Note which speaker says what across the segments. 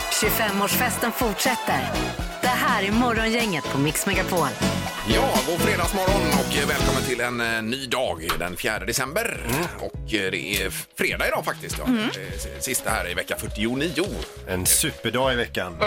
Speaker 1: 25-årsfesten fortsätter. Det här är Morgongänget på Mix Megapol.
Speaker 2: Ja, god fredagsmorgon och välkommen till en eh, ny dag den 4 december. Och eh, det är f- fredag idag faktiskt. Ja.
Speaker 3: Mm.
Speaker 2: Eh, s- Sista här i vecka 49.
Speaker 4: En superdag i veckan.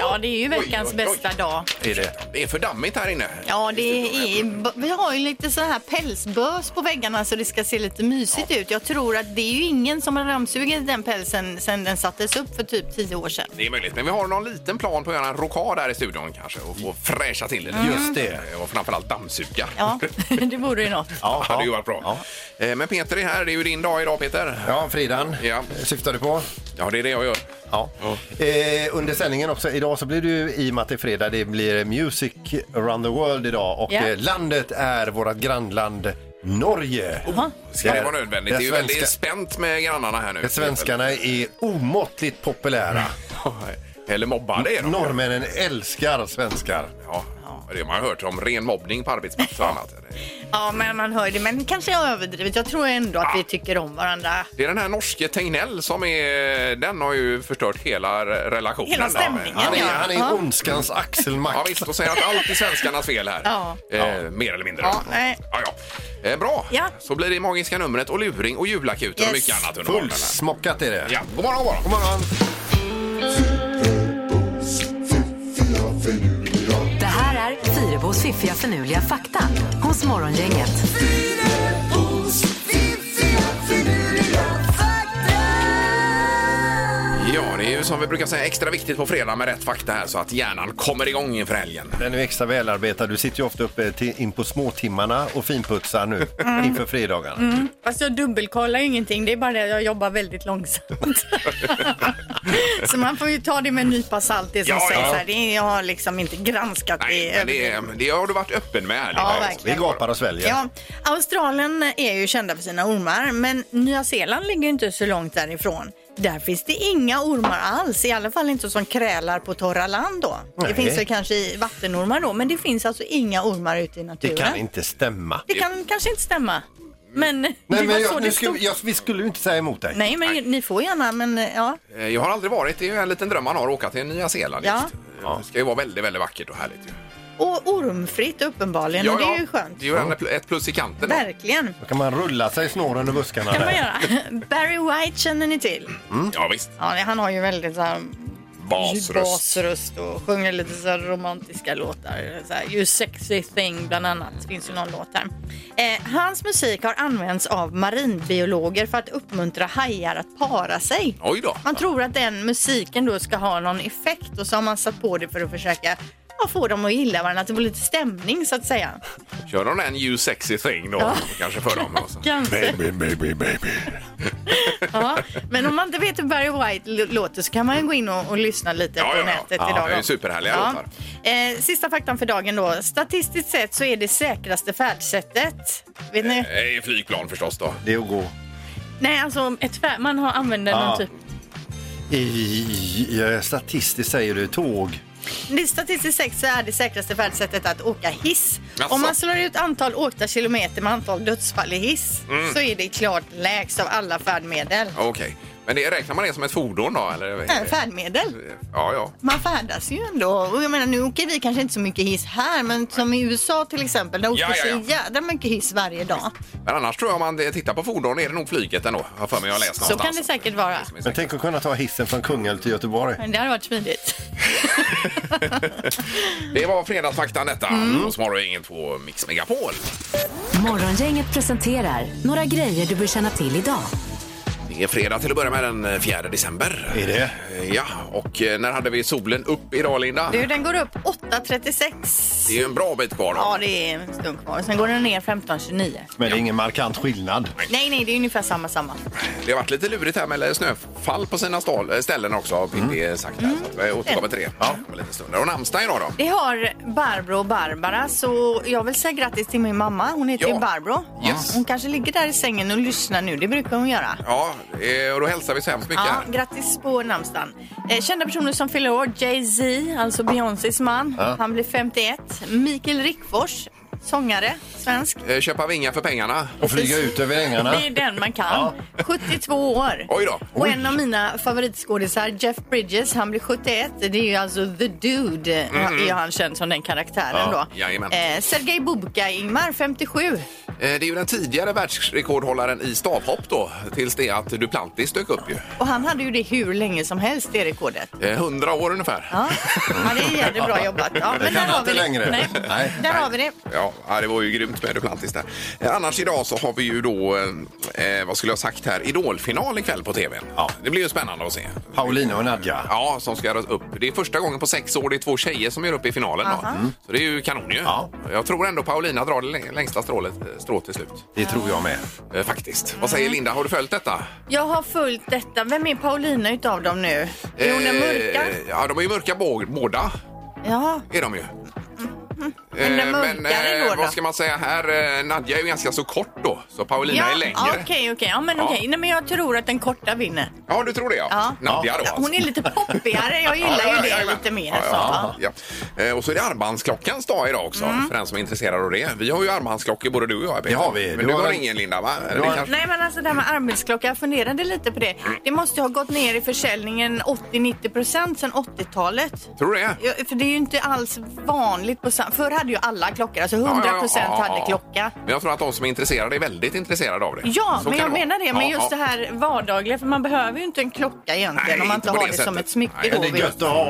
Speaker 3: Ja, det är ju veckans
Speaker 2: Oj, oj, oj.
Speaker 3: bästa dag.
Speaker 4: Är det.
Speaker 2: Det är för dammigt här inne.
Speaker 3: Ja, det är, vi har ju lite så här pälsbös på väggarna så det ska se lite mysigt ut. Jag tror att det är ju ingen som har dammsugit den pälsen sedan den sattes upp för typ tio år sedan.
Speaker 2: Det är möjligt, men vi har någon liten plan på att göra en rokad här i studion kanske och få fräscha till det lite. Eh,
Speaker 4: Just det.
Speaker 2: Och framförallt dammsuga.
Speaker 3: Ja, det vore ju något.
Speaker 2: Ja, det hade ju varit bra. Eh, Men Peter är här, det är ju din dag idag Peter.
Speaker 4: Ja, Fridan
Speaker 2: Ja.
Speaker 4: syftar du på.
Speaker 2: Ja, det är det jag gör.
Speaker 4: Ja. Eh, under sändningen också, idag så blir det ju i och med att det är fredag, det blir Music around the world idag och
Speaker 3: Ja.
Speaker 4: eh, landet är vårt grannland Norge.
Speaker 3: Jaha.
Speaker 2: Ska det vara nödvändigt? Det är ju väldigt
Speaker 4: svenska,
Speaker 2: spänt med grannarna här nu.
Speaker 4: där svenskarna är omåttligt populära.
Speaker 2: Eller mobbar det är de.
Speaker 4: Norrmännen älskar svenskar.
Speaker 2: Ja, det man har hört om ren mobbning på arbetsplatser och annat.
Speaker 3: Ja, men man hör ju det. Men kanske jag har överdrivit. Jag tror ändå att vi tycker om varandra.
Speaker 2: Det är den här norske Tegnell som är, den har ju förstört hela re- relationen.
Speaker 3: Hela stämningen,
Speaker 2: Ja,
Speaker 4: Han är,
Speaker 3: ja.
Speaker 4: han är
Speaker 3: Ja.
Speaker 4: ondskans
Speaker 2: ja
Speaker 4: axelmakt.
Speaker 2: visst, och säger att allt är svenskarnas fel här.
Speaker 3: Ja.
Speaker 2: Eh, mer eller mindre.
Speaker 3: Ja, nej.
Speaker 2: Ja, ja. Eh, bra,
Speaker 3: Ja.
Speaker 2: så blir det magiska numret och luring och julakuten och
Speaker 3: Yes.
Speaker 2: mycket annat under morgonen. här.
Speaker 4: Fullsmockat är det.
Speaker 2: Ja, god morgon, god morgon.
Speaker 4: God morgon.
Speaker 1: Det här är Fyrebos fiffiga förnuliga fakta hos Morgongänget.
Speaker 2: Ja, det är ju som vi brukar säga extra viktigt på fredag med rätt fakta här så att hjärnan kommer igång inför helgen.
Speaker 4: Den är extra välarbetad. Du sitter ju ofta uppe till, in på småtimmarna och finputsar nu
Speaker 3: Mm.
Speaker 4: inför fredagarna.
Speaker 3: Fast jag dubbelkollar ju ingenting. Det Alltså, är bara det att jag jobbar väldigt långsamt. så man får ju ta det med en nypa salt det som
Speaker 2: Ja, ja.
Speaker 3: sägs här. Det är, jag har liksom inte granskat
Speaker 2: Nej,
Speaker 3: det.
Speaker 2: men det, är- det har du varit öppen med här.
Speaker 3: Ja,
Speaker 2: Linda.
Speaker 3: verkligen.
Speaker 4: Vi gapar och sväljer.
Speaker 3: Ja, Australien är ju kända för sina ormar, men Nya Zeeland ligger ju inte så långt därifrån. Där finns det inga ormar alls, i alla fall inte som krälar på torra land då.
Speaker 4: Nej.
Speaker 3: Det finns ju kanske i vattenormar då, men det finns alltså inga ormar ute i
Speaker 4: Det
Speaker 3: naturen.
Speaker 4: kan inte stämma.
Speaker 3: Det kan kanske inte stämma, men det
Speaker 4: Nej,
Speaker 3: var
Speaker 4: men
Speaker 3: så
Speaker 4: jag,
Speaker 3: det
Speaker 4: nu
Speaker 3: stod.
Speaker 4: skulle, jag, vi skulle ju inte säga emot dig.
Speaker 3: Nej, men ni får gärna, men eh, ja.
Speaker 2: Eh, Jag har aldrig varit, det är ju en liten dröm man har, att åka till Nya Zeeland.
Speaker 3: Ja.
Speaker 2: just. Eh, Det ska ju vara väldigt, väldigt vackert och härligt. Ju.
Speaker 3: Och ormfritt uppenbarligen, och det är ju skönt.
Speaker 2: Det är ju en, ett plus i kanten. då.
Speaker 3: Verkligen.
Speaker 4: Då kan man rulla sig i snåren och buskarna.
Speaker 3: kan man
Speaker 4: där.
Speaker 3: göra. Barry White känner ni till.
Speaker 2: Ja, visst.
Speaker 3: Ja, han har ju väldigt så här
Speaker 2: Basröst.
Speaker 3: basröst och sjunger lite så här romantiska låtar. Så här, you sexy thing bland annat. finns ju någon låt här. Eh, hans musik har använts av marinbiologer för att uppmuntra hajar att para sig.
Speaker 2: Oj då.
Speaker 3: Man tror att den musiken då ska ha någon effekt och så har man satt på det för att försöka ja, få dem att gilla varandra, att det blir lite stämning så att säga.
Speaker 2: Kör de en You sexy thing då, kanske för dem. Och så.
Speaker 3: Kanske.
Speaker 4: Baby, baby, baby.
Speaker 3: Ja. Men om man inte vet hur Barry White l- låter så kan man ju gå in och, och lyssna lite
Speaker 2: Ja, ja,
Speaker 3: på
Speaker 2: ja.
Speaker 3: nätet
Speaker 2: Ja,
Speaker 3: idag.
Speaker 2: det är ju
Speaker 3: då.
Speaker 2: superhärliga
Speaker 3: Eh, sista faktan för dagen då. Statistiskt sett så är det säkraste färdssättet. Vet ni?
Speaker 2: Eh, Flygplan förstås då.
Speaker 4: Det är att gå
Speaker 3: Nej, alltså ett färd, man har använder
Speaker 4: Ja.
Speaker 3: någon typ.
Speaker 4: i... eh, Statistiskt säger du tåg.
Speaker 3: Det statistiskt sett så är det säkraste färdsättet att åka hiss.
Speaker 2: Jaså?
Speaker 3: Om man slår ut antal åkta kilometer med antal dödsfall i hiss
Speaker 2: Mm.
Speaker 3: så är det klart lägst av alla färdmedel.
Speaker 2: Okej. Men det, räknar man det som ett fordon då? Eller?
Speaker 3: Nej, färdmedel.
Speaker 2: Ja, ja.
Speaker 3: Man färdas ju ändå. Och jag menar, nu åker vi kanske inte så mycket hiss här, men som i USA till exempel, där åker
Speaker 2: Ja, ja, ja.
Speaker 3: så jädra mycket hiss varje dag.
Speaker 2: Men annars tror jag om man tittar på fordon är det nog flyget ändå. Har för mig jag har läst
Speaker 3: Så kan det
Speaker 2: någonstans.
Speaker 3: säkert vara.
Speaker 4: Men tänk att kunna ta hissen från Kungälv till Göteborg.
Speaker 3: Men det hade varit smidigt.
Speaker 2: Det var fredagsfaktan detta. Mm. Och smarrar inget på Mix Megapol.
Speaker 1: Morgongänget presenterar några grejer du bör känna till idag.
Speaker 2: Det är fredag till att börja med den 4 december.
Speaker 4: Är det?
Speaker 2: Eh, Ja, och eh, när hade vi solen upp idag Linda?
Speaker 3: Du, den går upp 8.36.
Speaker 2: Det är ju en bra bit kvar då.
Speaker 3: Ja, det är en stund kvar. Sen går den ner 15.29.
Speaker 4: Men det är ingen markant skillnad.
Speaker 3: Nej, nej, det är ungefär samma, samma.
Speaker 2: Det har varit lite lurigt här med snöfall på sina stall, ställen också har
Speaker 3: Mm.
Speaker 2: Pippi sagt här. Så att jag återkommer till det ja. om en liten stund. Och namnsdag idag då?
Speaker 3: Det har Barbro och Barbara, så jag vill säga grattis till min mamma. Hon heter
Speaker 2: Ja.
Speaker 3: ju Barbro.
Speaker 2: Yes.
Speaker 3: Hon kanske ligger där i sängen och lyssnar nu. Det brukar hon göra.
Speaker 2: Ja, eh, och då hälsar vi så hemskt mycket
Speaker 3: Ja,
Speaker 2: här.
Speaker 3: grattis på namnsdagen. Eh, kända personer som fyller år, Jay-Z, alltså Beyoncés man. Han blir 51. Mikael Rickfors. Sångare, svensk.
Speaker 2: Eh, Köpa vingar för pengarna.
Speaker 4: Och flyga ut över ängarna.
Speaker 3: Det är den man kan. 72 år.
Speaker 2: Oj då.
Speaker 3: Och en av mina favoritskådisar, Jeff Bridges, han blir 71. Det är ju alltså the dude, är han känd som den karaktären
Speaker 2: Ja,
Speaker 3: då.
Speaker 2: jajamän.
Speaker 3: Eh, Sergej Bubka, Ingmar, 57.
Speaker 2: Eh, Det är ju den tidigare världsrekordhållaren i stavhopp då, tills det att Duplantis dök upp ju.
Speaker 3: Och han hade ju det hur länge som helst, det rekordet.
Speaker 2: Eh, 100 år ungefär.
Speaker 3: Ja, ja det är jävligt bra jobbat. Ja,
Speaker 4: Det kan inte längre.
Speaker 3: Nej.
Speaker 4: Nej.
Speaker 3: Där har vi det.
Speaker 2: Ja, ja, det var ju grymt med Duplantis där. Eh, Annars idag så har vi ju då, eh, vad skulle jag ha sagt här, idolfinal ikväll på tvn.
Speaker 4: Ja.
Speaker 2: Det blir ju spännande att se.
Speaker 4: Paulina och Nadja.
Speaker 2: Ja, som ska göras upp. Det är första gången på sex år det är två tjejer som gör upp i finalen. Då. Mm. Så det är ju kanon ju.
Speaker 4: Ja.
Speaker 2: Jag tror ändå Paulina drar det lä- längsta strålet, eh, strået till slut.
Speaker 4: Det tror jag med.
Speaker 2: Eh, faktiskt. Vad
Speaker 3: Mm.
Speaker 2: säger Linda, har du följt detta?
Speaker 3: Jag har följt detta. Vem är Paulina utav dem nu? Är hon den
Speaker 2: Eh,
Speaker 3: mörka?
Speaker 2: Ja, de är ju mörka bå- båda.
Speaker 3: Ja.
Speaker 2: är de ju.
Speaker 3: Mm. Men den
Speaker 2: Eh,
Speaker 3: mörkare då, då?
Speaker 2: vad ska man säga här? Eh, Nadja är ju ganska så kort då, så Paulina är längre.
Speaker 3: ja, Okej, okej. Ja, men
Speaker 2: Ja.
Speaker 3: okej. Nej, men jag tror att den korta vinner.
Speaker 2: Ja, du tror det ja.
Speaker 3: Ja.
Speaker 2: Nadja då
Speaker 3: Ja,
Speaker 2: alltså.
Speaker 3: Hon är lite poppigare. Jag gillar ju det
Speaker 2: jajamän.
Speaker 3: lite mer.
Speaker 2: Ja,
Speaker 3: så, Mm.
Speaker 2: ja,
Speaker 3: va?
Speaker 2: ja. Eh, Och så är det armbandsklockans dag idag också, för den som är intresserad av det. Vi har ju armbandsklockor både du och jag, Peter.
Speaker 4: Det har vi.
Speaker 2: Men
Speaker 4: Du
Speaker 2: du
Speaker 4: har
Speaker 2: har
Speaker 4: en-
Speaker 2: ingen, Linda, va?
Speaker 4: Du har en-
Speaker 2: Det kanske-
Speaker 3: Nej men alltså det här med arbetsklocka, jag funderade lite på det. Det måste ju ha gått ner i försäljningen 80-90% sedan 80-talet.
Speaker 2: Tror du det?
Speaker 3: Ja, För det är ju inte alls vanligt. På sam- Förr hade ju alla klockor, alltså 100% hade klocka.
Speaker 2: Men jag tror att de som är intresserade är väldigt intresserade av det.
Speaker 3: Ja,
Speaker 2: Så kan
Speaker 3: men jag
Speaker 2: vara.
Speaker 3: menar det. Men
Speaker 2: Ja,
Speaker 3: just det
Speaker 2: ja.
Speaker 3: här vardagliga, för man behöver ju inte en klocka egentligen
Speaker 2: Nej,
Speaker 3: om man
Speaker 2: inte
Speaker 3: inte
Speaker 2: på
Speaker 3: har
Speaker 2: det
Speaker 3: det som
Speaker 2: sättet.
Speaker 3: ett smycke.
Speaker 2: Nej,
Speaker 4: Men det
Speaker 3: går
Speaker 4: är
Speaker 3: vi.
Speaker 4: gött att ha.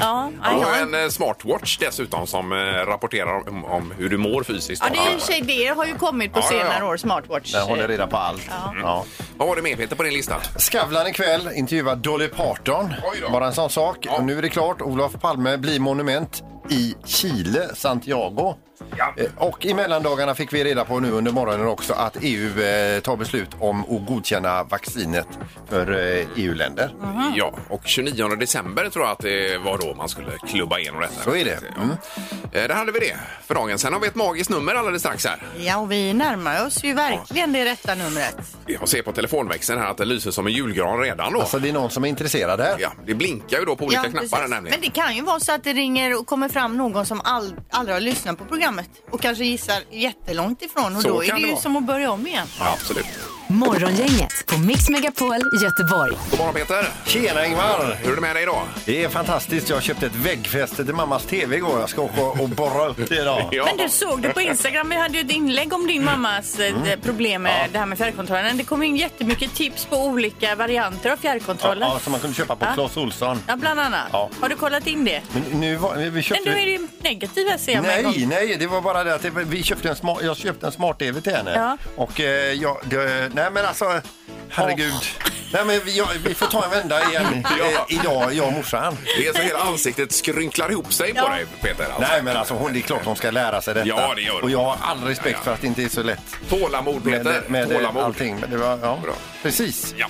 Speaker 3: Ja,
Speaker 2: Ja,
Speaker 3: aj,
Speaker 2: och
Speaker 3: aj.
Speaker 2: en eh, smartwatch dessutom som eh, rapporterar om, om hur du mår fysiskt.
Speaker 3: Ja, det är i och
Speaker 2: Ja.
Speaker 3: för sig det har ju kommit på
Speaker 2: Ja, ja, ja.
Speaker 3: senare år, smartwatch.
Speaker 4: Den håller reda på allt. Ja.
Speaker 2: Vad var det med Peter på din lista?
Speaker 4: Skavlan ikväll intervjuar Dolly Parton.
Speaker 2: Oj då.
Speaker 4: Bara en sån sak.
Speaker 2: Ja.
Speaker 4: Och nu är det klart. Olof Palme blir monument i Chile, Santiago.
Speaker 2: Ja.
Speaker 4: Eh, Och i mellandagarna fick vi reda på nu under morgonen också att EU eh, tar beslut om att godkänna vaccinet för eh, EU-länder.
Speaker 3: Mm.
Speaker 2: Ja, och 29 december tror jag att det var då man skulle klubba igenom detta.
Speaker 4: Så är det. Mm.
Speaker 2: Ja. Eh, Där hade vi det för dagen. Sen har vi ett magiskt nummer alldeles strax här.
Speaker 3: Ja, och vi närmar oss ju verkligen det rätta numret.
Speaker 2: Jag ser på telefonväxeln här att det lyser som en julgran redan då.
Speaker 4: Alltså det är någon som är intresserad här.
Speaker 2: Ja, det blinkar ju då på olika
Speaker 3: ja,
Speaker 2: knappar här
Speaker 3: precis.
Speaker 2: nämligen.
Speaker 3: Men det kan ju vara så att det ringer och kommer fram någon som all, aldrig har lyssnat på programmet och kanske gissar jättelångt ifrån och
Speaker 2: Så
Speaker 3: då är
Speaker 2: kan
Speaker 3: det
Speaker 2: det
Speaker 3: ju
Speaker 2: vara.
Speaker 3: som att börja om igen.
Speaker 2: Ja, absolut.
Speaker 1: Morgongänget på Mix Megapol Göteborg.
Speaker 2: God morgon Peter!
Speaker 4: Tjena Ingmar!
Speaker 2: Hur är det med dig idag?
Speaker 4: Det är fantastiskt. Jag köpte ett väggfäste till mammas tv igår. Jag ska åka och borra upp det idag.
Speaker 2: Ja.
Speaker 3: Men du såg det på Instagram, vi hade ju ett inlägg om din mammas eh,
Speaker 4: Mm.
Speaker 3: problem med det här med fjärrkontrollen. Det kom in jättemycket tips på olika varianter av
Speaker 4: Ja,
Speaker 3: fjärrkontrollen.
Speaker 4: ja, som man kunde köpa på
Speaker 3: Ja.
Speaker 4: Clas Ohlson.
Speaker 3: Ja, bland annat.
Speaker 4: Ja.
Speaker 3: Har du kollat in det?
Speaker 4: Men nu var, vi
Speaker 3: Men
Speaker 4: köpte...
Speaker 3: du är ju negativ här ser jag med en gång.
Speaker 4: Nej, nej, det var bara det att det, vi köpte en smart, jag köpte en smart-tv till henne.
Speaker 3: Ja.
Speaker 4: Och eh, jag, det, nej men alltså, herregud. Nej men vi, jag, vi får ta en vända igen eh, idag, jag och morsan.
Speaker 2: Det är så hela ansiktet skrynklar ihop sig på
Speaker 3: Ja.
Speaker 2: dig Peter. Alltså.
Speaker 4: Nej men alltså hon, det är klart hon ska lära sig detta.
Speaker 2: Ja, det gör hon.
Speaker 4: Och jag har all respekt för att det inte är så lätt.
Speaker 2: Tålamod Peter!
Speaker 4: Med, med
Speaker 2: Tålamod.
Speaker 4: allting. Men det var, ja,
Speaker 2: Bra.
Speaker 4: precis.
Speaker 2: Ja.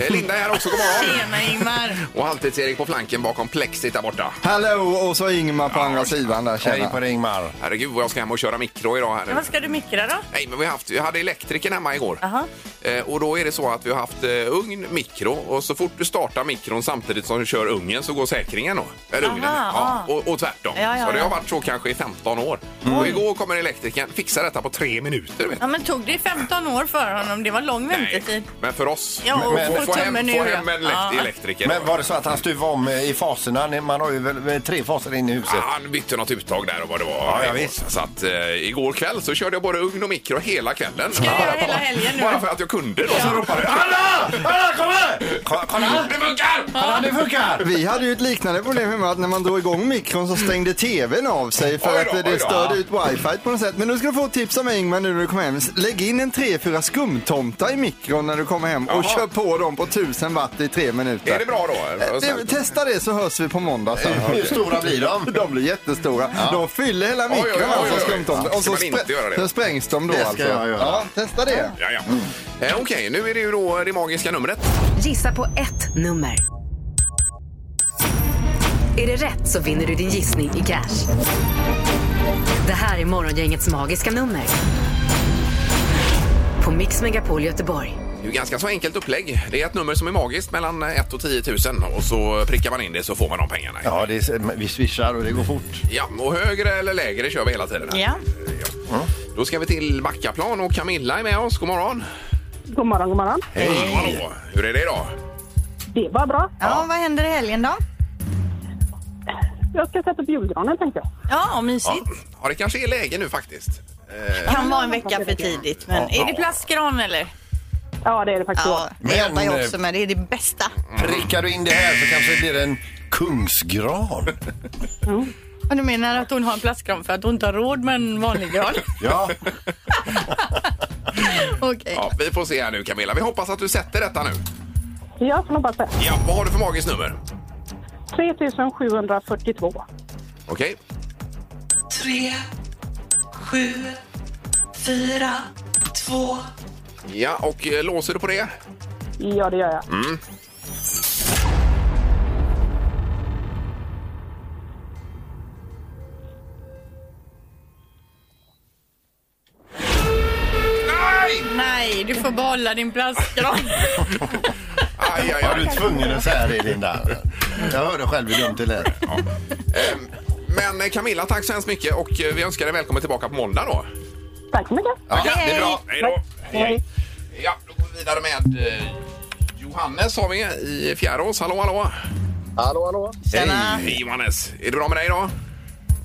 Speaker 2: Eh, Linda är här också, god morgon!
Speaker 3: Tjena Ingmar!
Speaker 2: Och Halvtids-Erik på flanken bakom plexit där borta.
Speaker 5: Hallå och så Ingmar på andra sidan där.
Speaker 4: Hej på
Speaker 5: Tjena.
Speaker 4: dig Ingmar.
Speaker 2: Herregud vad jag ska hem och köra mikro idag här nu.
Speaker 3: Vad ska du mikra då?
Speaker 2: Nej, men vi, har haft, vi hade elektrikern hemma igår.
Speaker 3: Aha.
Speaker 2: Eh, och då är det så att vi har haft eh, ugn, mikro och så fort du startar mikron samtidigt som du kör ugnen så går säkringen då. Eller
Speaker 3: Aha,
Speaker 2: ugnen. Ja,
Speaker 3: ja.
Speaker 2: och, och tvärtom.
Speaker 3: Ja, ja,
Speaker 2: så det har
Speaker 3: ja.
Speaker 2: varit så kanske i 15 år. Och igår kommer elektrikern, fixar detta på tre minuter. Vet du.
Speaker 3: Ja, men tog det 15 år för honom? Det var lång väntetid.
Speaker 2: men för oss.
Speaker 3: Ja, och
Speaker 2: Men-
Speaker 3: få
Speaker 2: få hem,
Speaker 3: tummen
Speaker 2: få
Speaker 3: ur,
Speaker 2: hem
Speaker 3: ja.
Speaker 2: en elekt-
Speaker 3: Ja.
Speaker 2: elektriker.
Speaker 4: Men var det så att han stuvade om eh, i faserna? Ni- Man har ju väl eh, tre faser in i
Speaker 2: Ja,
Speaker 4: huset.
Speaker 2: han bytte något uttag där och vad det var.
Speaker 4: ja,
Speaker 2: igår.
Speaker 4: visst.
Speaker 2: Så att eh, igår kväll så körde jag både ugn och mikro hela kvällen.
Speaker 3: Ska jag göra hela helgen nu?
Speaker 2: Bara för att jag kunde då. Så ropade jag,
Speaker 4: Alla! Alla kommer! Ko- Kolla!
Speaker 2: "Ah, det funkar!
Speaker 4: Kolla det funkar!
Speaker 5: Vi hade ju ett liknande problem hemma att när man drog igång mikron så stängde tvn av sig för
Speaker 2: Oj då,
Speaker 5: att
Speaker 2: oj då.
Speaker 5: det störde ut wifi på något sätt. Men nu ska du få ett tips av Ingmar nu när du kommer hem. Lägg in en 3-4 skumtomtar i mikron när du kommer hem och
Speaker 2: Jaha.
Speaker 5: kör på dem på 1000 watt i tre minuter.
Speaker 2: Är det bra då?
Speaker 5: Eh, det- Testa det så hörs vi på måndag sen.
Speaker 4: Hur stora blir de?
Speaker 5: De blir jättestora. De fyller hela
Speaker 2: oj,
Speaker 5: mikron
Speaker 2: oj, oj,
Speaker 5: alltså
Speaker 2: oj.
Speaker 5: skumtomtar.
Speaker 2: Ska
Speaker 5: Och så,
Speaker 2: man inte göra det?
Speaker 5: så sprängs de då
Speaker 4: Det ska
Speaker 5: alltså.
Speaker 4: jag göra.
Speaker 5: Ja, testa det.
Speaker 2: Ja, ja. Eh, Okej, nu är det ju då det magiska numret.
Speaker 1: Gissa på ett nummer. Är det rätt så vinner du din gissning i cash. Det här är Morgongängets magiska nummer. På Mix Megapol Göteborg.
Speaker 2: Det är ju ganska så enkelt upplägg. Det är ett nummer som är magiskt mellan 1 och 10 000 och så prickar man in det så får man de pengarna.
Speaker 4: Ja, det är, vi swishar och det går fort.
Speaker 2: Ja, och högre eller lägre kör vi hela tiden. här.
Speaker 3: Ja.
Speaker 2: Ja. Då ska vi till Backaplan och Camilla är med oss. God morgon!
Speaker 6: God morgon, god morgon.
Speaker 2: Hej! Hallå! Hur är det idag?
Speaker 6: Det var bra.
Speaker 3: Ja, vad händer i helgen då?
Speaker 6: Jag ska sätta upp julgranen tänkte jag.
Speaker 3: Ja, mysigt.
Speaker 2: Ja, det kanske är läge nu faktiskt.
Speaker 3: Kan vara en vecka för tidigt. Men är det plastgran eller?
Speaker 6: Ja, det är det faktiskt.
Speaker 3: Ja, det
Speaker 4: Men,
Speaker 3: jobbar jag
Speaker 4: eh,
Speaker 3: också med. Det är det bästa.
Speaker 4: Prickar du in det här så kanske det blir en kungsgran.
Speaker 3: Och du menar att hon har en plastgran för att hon inte har råd med en vanlig gran?
Speaker 4: Ja,
Speaker 3: Okej.
Speaker 2: Ja, vi får se här nu Camilla. Vi hoppas att du sätter detta nu.
Speaker 6: Jag kan hoppas det.
Speaker 2: Ja, vad har du för magiskt nummer?
Speaker 6: 3742.
Speaker 2: Okej.
Speaker 7: tre, sju, fyra, två,
Speaker 2: Ja, och eh, låser du på det?
Speaker 6: Ja, det gör jag.
Speaker 8: Mm.
Speaker 2: Nej!
Speaker 3: Nej, du får behålla din plastgran.
Speaker 2: Aj, aj,
Speaker 4: var du
Speaker 2: aj.
Speaker 4: tvungen att säga det Linda? Jag hörde själv hur dumt det lät.
Speaker 2: Ehm, Men eh, Camilla, tack så hemskt mycket och eh, vi önskar dig välkommen tillbaka på måndag då.
Speaker 6: Tack så mycket.
Speaker 4: Ja,
Speaker 2: Ja, det är bra. Hej då.
Speaker 6: Hej.
Speaker 2: Ja, då går vi vidare med eh, Johannes har vi i Fjärås. Hallå, hallå!
Speaker 9: Hallå, hallå.
Speaker 3: Tjena.
Speaker 2: Hej Johannes! Är det bra med dig idag?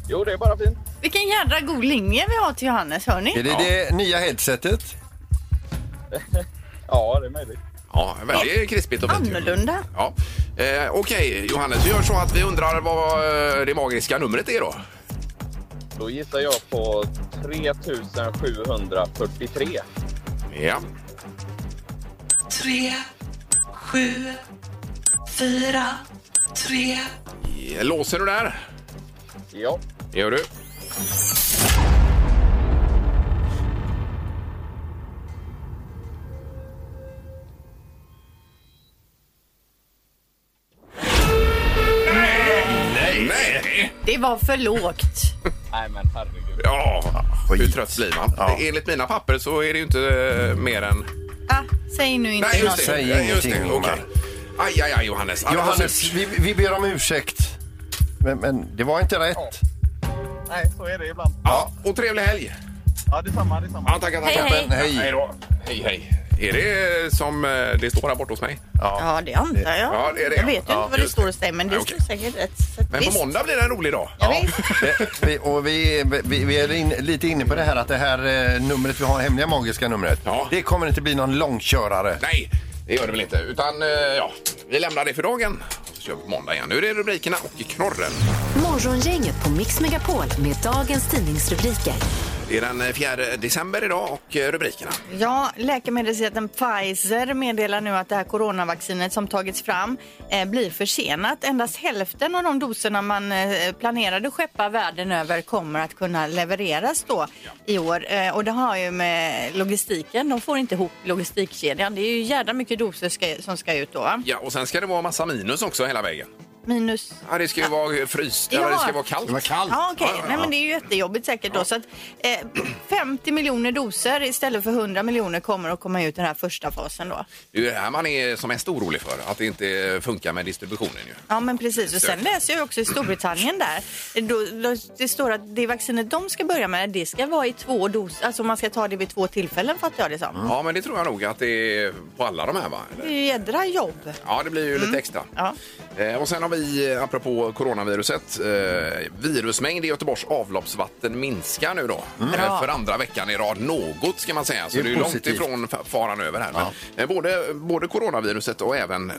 Speaker 9: Jo, det är bara fint.
Speaker 3: Vilken jädra god linje vi har till Johannes, hör ni?
Speaker 4: Är det det nya headsetet?
Speaker 9: Ja, det är möjligt.
Speaker 2: Ja, väldigt krispigt och fint. ju.
Speaker 3: Annorlunda.
Speaker 2: Ja. Eh, Okej, Johannes, vi gör så att vi undrar vad eh, det magiska numret är då.
Speaker 9: Då gissar jag på 3743.
Speaker 2: Ja.
Speaker 7: tre, sju, fyra, tre,
Speaker 2: Låser du där?
Speaker 9: Ja,
Speaker 2: Det gör du. Nej! Nej!
Speaker 3: Det var för lågt.
Speaker 9: nej men herregud.
Speaker 2: Ja, hur trött blir man? Det- Enligt mina papper så är det ju inte eh, mer än...
Speaker 3: Ah, säg nu inte
Speaker 2: Nej, just
Speaker 3: något.
Speaker 2: det.
Speaker 4: Säg
Speaker 2: Nej, just
Speaker 4: ingenting,
Speaker 2: det. Okej. Aj, aj, aj, Johannes. Ja, det var
Speaker 4: Johannes,
Speaker 2: surt.
Speaker 4: vi, vi ber om ursäkt. Men, men det var inte rätt.
Speaker 9: Nej, så är det ibland.
Speaker 2: Ja, och trevlig helg!
Speaker 9: Ja, detsamma, detsamma.
Speaker 2: Ja, tackar, tackar.
Speaker 3: Hej,
Speaker 4: Men hej.
Speaker 2: då. Hej, hej. Är det som eh, det står här borta hos mig?
Speaker 3: Ja, det antar jag.
Speaker 2: Ja, det är det.
Speaker 3: Jag vet ju
Speaker 2: Ja,
Speaker 3: inte vad det
Speaker 2: just
Speaker 3: står
Speaker 2: det.
Speaker 3: hos dig, men det
Speaker 2: Nej,
Speaker 3: står
Speaker 2: okej.
Speaker 3: säkert rätt. Så att
Speaker 2: Men
Speaker 3: visst.
Speaker 2: på måndag blir det en rolig dag.
Speaker 3: Ja, visst.
Speaker 4: Det- vi- Och vi, vi, vi är in, lite inne på det här att det här eh, numret vi har, hemliga magiska numret,
Speaker 2: Ja.
Speaker 4: det kommer inte bli någon långkörare.
Speaker 2: Nej, det gör det väl inte. Utan eh, ja, vi lämnar det för dagen. Så kör vi på måndag igen. Nu är det rubrikerna och knorren.
Speaker 1: Morgongänget på Mix Megapol med dagens tidningsrubriker.
Speaker 2: Det är den eh, 4 december idag och eh, rubrikerna.
Speaker 3: Ja, läkemedelsjätten Pfizer meddelar nu att det här coronavaccinet som tagits fram eh, blir försenat. Endast hälften av de doserna man eh, planerade skeppa världen över kommer att kunna levereras då i år. Eh, och det har ju med logistiken, de får inte ihop logistikkedjan. Det är ju jädra mycket doser ska, som ska ut då. va?
Speaker 2: Ja, och sen ska det vara massa minus också hela vägen.
Speaker 3: Minus
Speaker 2: Ja, det ska ju vara eh, fryst eller
Speaker 3: Ja.
Speaker 2: det ska vara kallt.
Speaker 4: Det var kallt.
Speaker 3: Ja, okej. Nej, men det är ju jättejobbigt säkert då. Så att, eh, 50 miljoner doser istället för 100 miljoner kommer att komma ut i den här första fasen då.
Speaker 2: Det är ju det här man är som mest orolig för, att det inte funkar med distributionen ju.
Speaker 3: Ja, men precis. Och sen läser jag också i Storbritannien där. Då, då, det står att det vaccinet de ska börja med, det ska vara i två doser. Alltså man ska ta det vid två tillfällen fattar jag det som.
Speaker 4: Mm.
Speaker 2: Ja, men det tror jag nog att det är på alla de här va?
Speaker 3: Det
Speaker 2: Eller?
Speaker 3: är ju jädra jobb.
Speaker 2: Ja, det blir ju
Speaker 4: Mm.
Speaker 2: lite extra.
Speaker 3: Ja.
Speaker 2: Eh, Och sen har vi, eh, apropå coronaviruset, eh, virusmängd i Göteborgs avloppsvatten minskar nu då. Eh, För andra veckan i rad något ska man säga. Så
Speaker 4: Mm. Det
Speaker 2: det
Speaker 4: är
Speaker 2: är, långt
Speaker 4: positivt.
Speaker 2: ifrån fa- faran över här. Men, eh, både, både coronaviruset och även eh,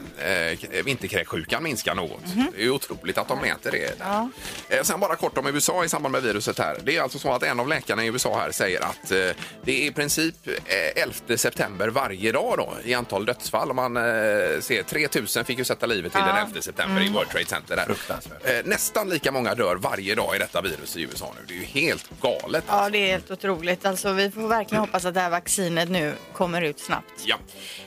Speaker 2: k- eh, vinterkräksjukan minskar något. Det är ju otroligt att de mäter det. där. Eh, sen bara kort om USA i samband med viruset här. Det är alltså så att en av läkarna i USA här säger att eh, det är i princip eh, 11 september varje dag då i antal dödsfall. Om man eh, ser 3000 fick ju sätta livet till den 11 september i World Trade Center. Där.
Speaker 4: Fruktansvärt.
Speaker 2: Eh, nästan lika många dör varje dag i detta virus i USA nu. Det är ju helt galet.
Speaker 3: Ja, det är helt otroligt. Alltså, vi får verkligen hoppas att det här vaccinet nu kommer ut snabbt.
Speaker 2: Ja.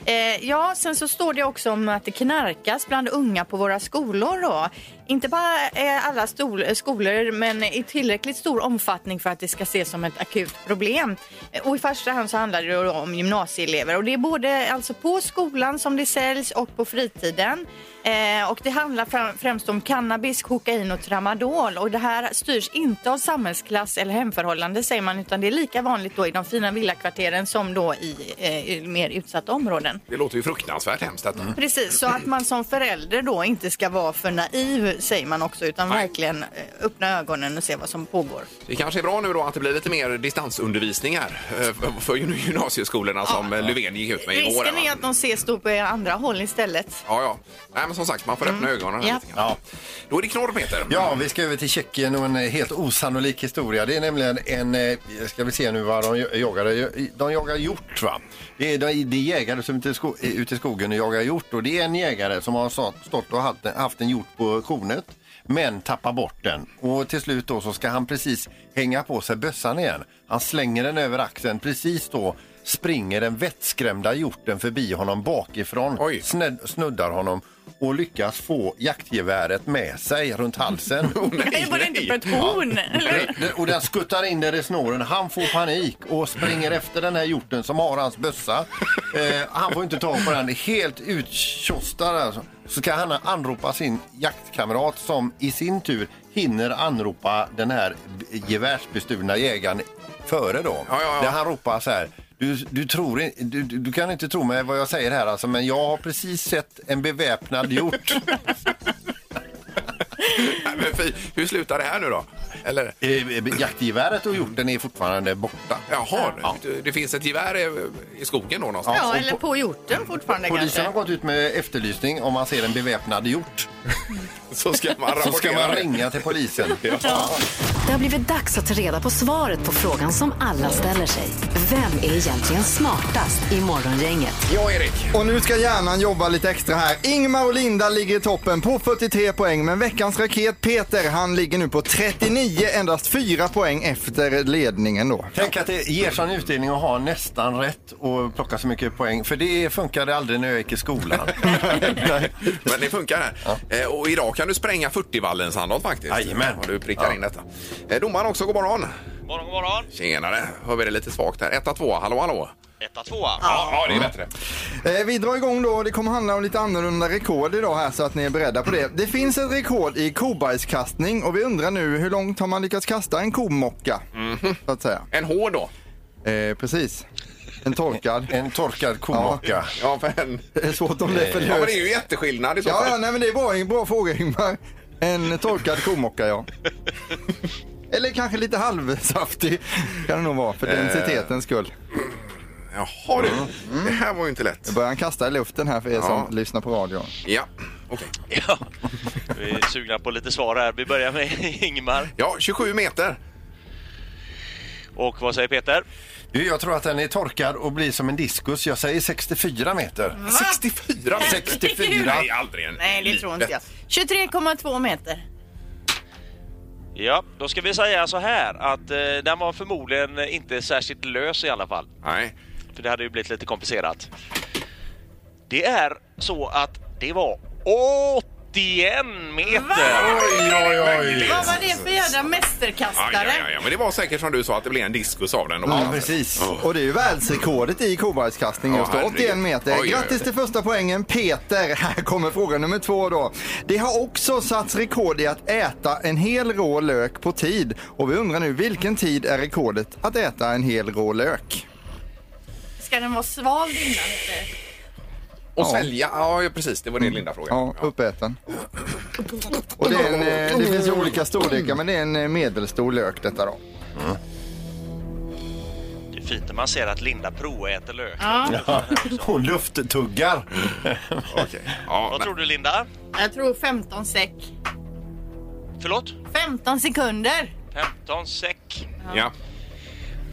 Speaker 3: Eh, ja, sen så står det också om att det knarkas bland unga på våra skolor. Då. Inte bara eh, alla stol- eh, skolor, men i tillräckligt stor omfattning för att det ska ses som ett akut problem. Eh, Och I första hand så handlar det då om gymnasieelever. Och det är både alltså på skolan som det säljs och på fritiden. Eh, Eh, och det handlar fram, främst om cannabis, kokain och tramadol. Och det här styrs inte av samhällsklass eller hemförhållande säger man utan det är lika vanligt då i de fina villakvarteren som då i, eh, i mer utsatta områden.
Speaker 2: Det låter ju fruktansvärt hemskt detta.
Speaker 3: Precis, så att man som förälder då inte ska vara för naiv säger man också utan
Speaker 2: Nej.
Speaker 3: verkligen eh, öppna ögonen och se vad som pågår.
Speaker 2: Det kanske är bra nu då att det blir lite mer distansundervisning här eh, för- för gym- gymnasieskolorna som eh, Löfven gick ut med igår.
Speaker 3: Risken
Speaker 2: va?
Speaker 3: är att de ses då på andra håll istället.
Speaker 2: Ja, ja. Nej, men som sagt, man får öppna ögonen. här
Speaker 3: Mm. Ja.
Speaker 2: lite grann. Då är det knorr, Peter.
Speaker 4: Ja, vi ska över till Tjeckien och en eh, helt osannolik historia. Det är nämligen en, eh, ska vi se nu vad de jo- jagade, de jagar hjort va? Det är, de- det är jägare som är ute i sko- är ute i skogen och jagar hjort och det är en jägare som har sa- stått och haft, haft en hjort på kornet men tappar bort den och till slut då så ska han precis hänga på sig bössan igen. Han slänger den över axeln precis då springer den vettskrämda hjorten förbi honom bakifrån,
Speaker 2: Oj.
Speaker 4: sned, snuddar honom och lyckas få jaktgeväret med sig runt halsen.
Speaker 3: Nej, var det inte på ett horn? eller?
Speaker 4: Det- det- Och den skuttar in där i snåren. Han får panik och springer efter den här hjorten som har hans bössa. Eh, han får inte tag på den. Helt uttjostad alltså. Så ska han anropa sin jaktkamrat som i sin tur hinner anropa den här b- gevärsbestulna jägaren före då.
Speaker 2: Ja, ja, ja.
Speaker 4: Där han ropar så här. Du, du, tror, in- du, du du kan inte tro mig vad jag säger här alltså, men jag har precis sett en beväpnad hjort.
Speaker 2: Nej, men fy, hur slutar det här nu då? Eller?
Speaker 4: Eh, Jaktgeväret och hjorten är fortfarande borta.
Speaker 2: Jaha, det- det finns ett gevär i- i skogen då någonstans?
Speaker 3: Ja, eller på hjorten fortfarande
Speaker 4: Polisen har
Speaker 3: kanske.
Speaker 4: gått ut med efterlysning om man ser en beväpnad hjort.
Speaker 2: Så ska man
Speaker 4: Så ska
Speaker 2: rapportera
Speaker 4: man
Speaker 2: det.
Speaker 4: ringa till polisen.
Speaker 1: Det har blivit dags att ta reda på svaret på frågan som alla ställer sig. Vem är egentligen smartast i Morgongänget?
Speaker 2: Ja, Erik.
Speaker 5: Och nu ska hjärnan jobba lite extra här. Ingmar och Linda ligger i toppen på 43 poäng, men veckans raket Peter, han ligger nu på 39, endast 4 poäng efter ledningen då.
Speaker 4: Tänk att det ger sån utdelning att ha nästan rätt och plocka så mycket poäng. För det funkade aldrig när jag gick i skolan.
Speaker 2: Men det funkar här. Eh, Och idag kan du spränga 40-vallen Sandholt faktiskt.
Speaker 4: Jajamän.
Speaker 2: Om du prickar in detta. Eh, Domaren också, god morgon.
Speaker 10: Morgon, god morgon.
Speaker 2: Tjenare, hör vi det lite svagt här. Etta, tvåa, hallå, hallå. Mm.
Speaker 10: Etta, tvåa.
Speaker 2: Ja, det är bättre.
Speaker 5: Eh, Vi drar igång då. Det kommer handla om lite annorlunda rekord idag här så att ni är beredda på det. Det finns ett rekord i kobajskastning och vi undrar nu hur långt har man lyckats kasta en komocka? Så att säga.
Speaker 2: En hård då.
Speaker 5: Eh, precis. En torkad.
Speaker 4: En torkad komocka.
Speaker 2: Ja, för en...
Speaker 5: Det är svårt om det är för
Speaker 2: Ja, men det
Speaker 5: löst.
Speaker 2: är ju jätteskillnad i så
Speaker 5: Ja,
Speaker 2: fall.
Speaker 5: ja, nej men det är bra, en bra fråga Ingmar. En torkad komocka ja. Eller kanske lite halvsaftig kan det nog vara
Speaker 2: Eh.
Speaker 5: för densitetens skull.
Speaker 2: Jaha du, det här var ju inte lätt.
Speaker 5: Börjar han kasta i luften här för er
Speaker 2: Ja.
Speaker 5: som lyssnar på radion.
Speaker 2: Ja, okej.
Speaker 10: Ja. Vi är sugna på lite svar här. Vi börjar med Ingmar.
Speaker 2: Ja, 27 meter.
Speaker 10: Och vad säger Peter?
Speaker 4: Du, Jag tror att den är torkad och blir som en diskus. Jag säger 64 meter.
Speaker 2: 64 meter.
Speaker 4: 64.
Speaker 2: Nej, aldrig en
Speaker 3: Nej, det tror inte jag. 23,2 meter.
Speaker 10: Ja, då ska vi säga så här att eh, den var förmodligen inte särskilt lös i alla fall.
Speaker 2: Nej.
Speaker 10: För det hade ju blivit lite komplicerat. Det är så att det var 81 meter!
Speaker 4: Oj, oj, oj.
Speaker 3: Vad var det för jädra
Speaker 2: Aj, aj, aj,
Speaker 3: mästerkastare?
Speaker 2: aj. Men det var säkert som du sa att det blev en diskus av den. då.
Speaker 4: Ja, precis.
Speaker 5: Och det är ju världsrekordet i kobajskastning
Speaker 2: Ja,
Speaker 5: just då,
Speaker 2: herregud.
Speaker 5: 81 meter.
Speaker 2: Oj, oj, oj.
Speaker 5: Grattis till första poängen Peter. Här kommer fråga nummer två då. Det har också satts rekord i att äta en hel rå lök på tid. Och vi undrar nu vilken tid är rekordet att äta en hel rå lök?
Speaker 3: Ska den vara sval innan? eller?
Speaker 2: Och sälja, ja ja, precis, det var det Linda frågade.
Speaker 5: Ja, uppäten. Och det, är en, eh, det finns ju olika storlekar men det är en eh, medelstor lök detta då.
Speaker 10: Det är fint när man ser att Linda proväter lök.
Speaker 4: Hon lufttuggar.
Speaker 2: Ja, okej. ja,
Speaker 10: Vad tror
Speaker 2: nej.
Speaker 10: du Linda?
Speaker 3: Jag tror 15 säck.
Speaker 10: Förlåt?
Speaker 3: 15 sekunder.
Speaker 10: 15 säck.
Speaker 2: ja.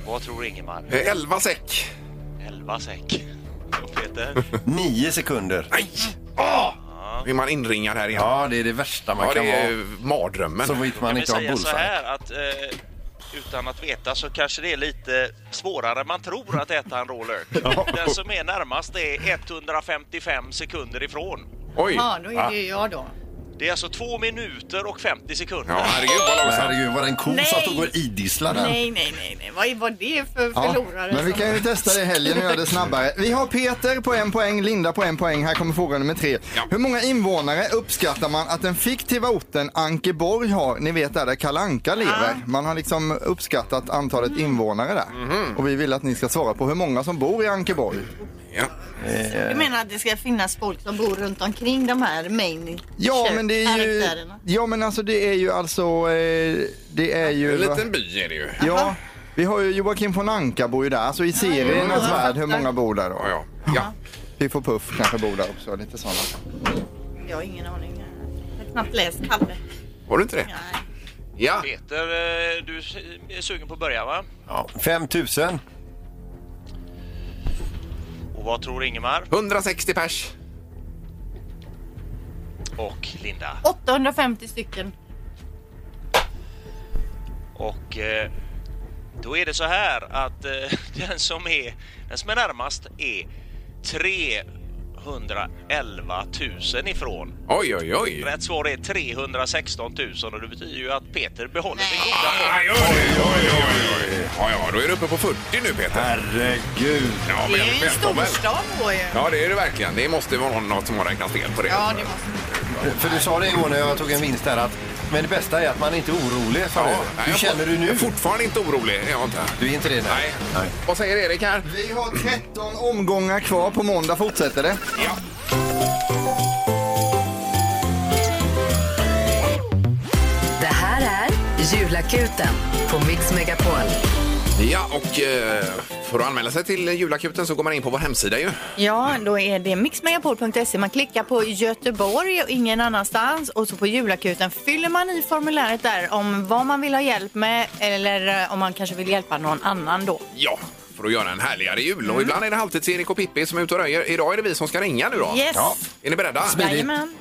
Speaker 10: Vad tror Ingemar?
Speaker 2: Eh, 11 säck.
Speaker 10: 11 säck. Och Peter?
Speaker 4: 9 sekunder.
Speaker 2: Nej! Åh! Vill man inringad här igen? Ja,
Speaker 4: Ja, det är det värsta man kan
Speaker 2: det är
Speaker 4: vara.
Speaker 2: ju mardrömmen.
Speaker 4: Så vitt man
Speaker 10: kan vi
Speaker 4: inte har
Speaker 10: säga så
Speaker 4: bullseye.
Speaker 10: här att eh, utan att veta så kanske det är lite svårare än man tror att äta en rå lök. Den som är närmast är 155 sekunder ifrån.
Speaker 2: Oj!
Speaker 5: Ah.
Speaker 3: Ja, då är det ju jag då.
Speaker 10: Det är alltså två minuter och 50 sekunder.
Speaker 2: Ja, herregud vad
Speaker 4: Men
Speaker 2: långsamt.
Speaker 4: herregud, var det en ko
Speaker 3: Nej.
Speaker 4: som stod och idisslade den?
Speaker 3: Nej, nej, nej, nej. Vad var det för
Speaker 5: Ja,
Speaker 3: förlorare?
Speaker 5: men vi kan ju testa det i helgen och göra det snabbare. Vi har Peter på en poäng, Linda på en poäng. Här kommer fråga nummer tre.
Speaker 2: Ja.
Speaker 5: Hur många invånare uppskattar man att den fiktiva orten Ankeborg har? Ni vet där, där Kalle Anka lever. Man har liksom uppskattat antalet
Speaker 3: Mm.
Speaker 5: invånare där. Och vi vill att ni ska svara på hur många som bor i Ankeborg.
Speaker 2: Ja.
Speaker 3: Du menar att det ska finnas folk som bor runt omkring de här main
Speaker 5: Ja, men det är ju...
Speaker 3: karaktärerna?
Speaker 5: Ja, men alltså det är ju alltså... Eh, det är ju...
Speaker 2: En liten by är det ju.
Speaker 5: Ja. Vi har ju Joakim von Anka bor ju där, så i seriernas värld hur många bor där då?
Speaker 2: Ja, ja. ja.
Speaker 5: Piff och Puff kanske bor där också, lite sådana.
Speaker 3: Jag har ingen aning. Jag har knappt läst Kalle.
Speaker 2: Var du inte det? Ja.
Speaker 10: Peter, eh, du är sugen på att börja va?
Speaker 4: Ja, 5 000.
Speaker 10: Och vad tror Ingemar
Speaker 2: 160 pers.
Speaker 10: och Linda?
Speaker 3: 850 stycken.
Speaker 10: Och eh, då är det så här att eh, den, som är, den som är närmast är 311 000 ifrån.
Speaker 2: Oj, oj, oj.
Speaker 10: Rätt svar är 316 000 och det betyder ju att Peter behåller sin goda form.
Speaker 2: Aj, oj, oj, oj, oj, oj. Ja, ja, då är du uppe på 40 nu Peter.
Speaker 4: Herregud.
Speaker 2: Ja,
Speaker 3: Det är ju en
Speaker 2: välkommen.
Speaker 3: storstad då ju.
Speaker 2: Ja, det är det verkligen. Det måste vara något som har räknat fel på det.
Speaker 3: Ja, det måste
Speaker 4: För du sa det igår när jag tog en vinst där att men det bästa är att man inte är orolig, sa
Speaker 2: Ja,
Speaker 4: du. Hur
Speaker 2: jag
Speaker 4: känner
Speaker 2: får-
Speaker 4: du
Speaker 2: Jag
Speaker 4: nu?
Speaker 2: är fortfarande inte orolig. är Jag inte.
Speaker 4: Du är inte det?
Speaker 2: Nej. Vad säger Erik här?
Speaker 5: Vi har 13 omgångar kvar. På måndag fortsätter det.
Speaker 2: Ja.
Speaker 1: Det här är Julakuten på Mix Megapol.
Speaker 2: Ja, och eh, för att anmäla sig till julakuten så går man in på vår hemsida ju.
Speaker 3: Ja, då är det mixmegapol.se. Man klickar på Göteborg och ingen annanstans och så på julakuten fyller man i formuläret där om vad man vill ha hjälp med eller eh, om man kanske vill hjälpa någon annan då.
Speaker 2: Ja, för att göra en härligare jul.
Speaker 3: Mm.
Speaker 2: Och ibland är det alltid Erik och Pippi som är ute och röjer. Idag är det vi som ska ringa nu då.
Speaker 3: Yes.
Speaker 2: Ja. Är ni beredda?
Speaker 3: Jajamän.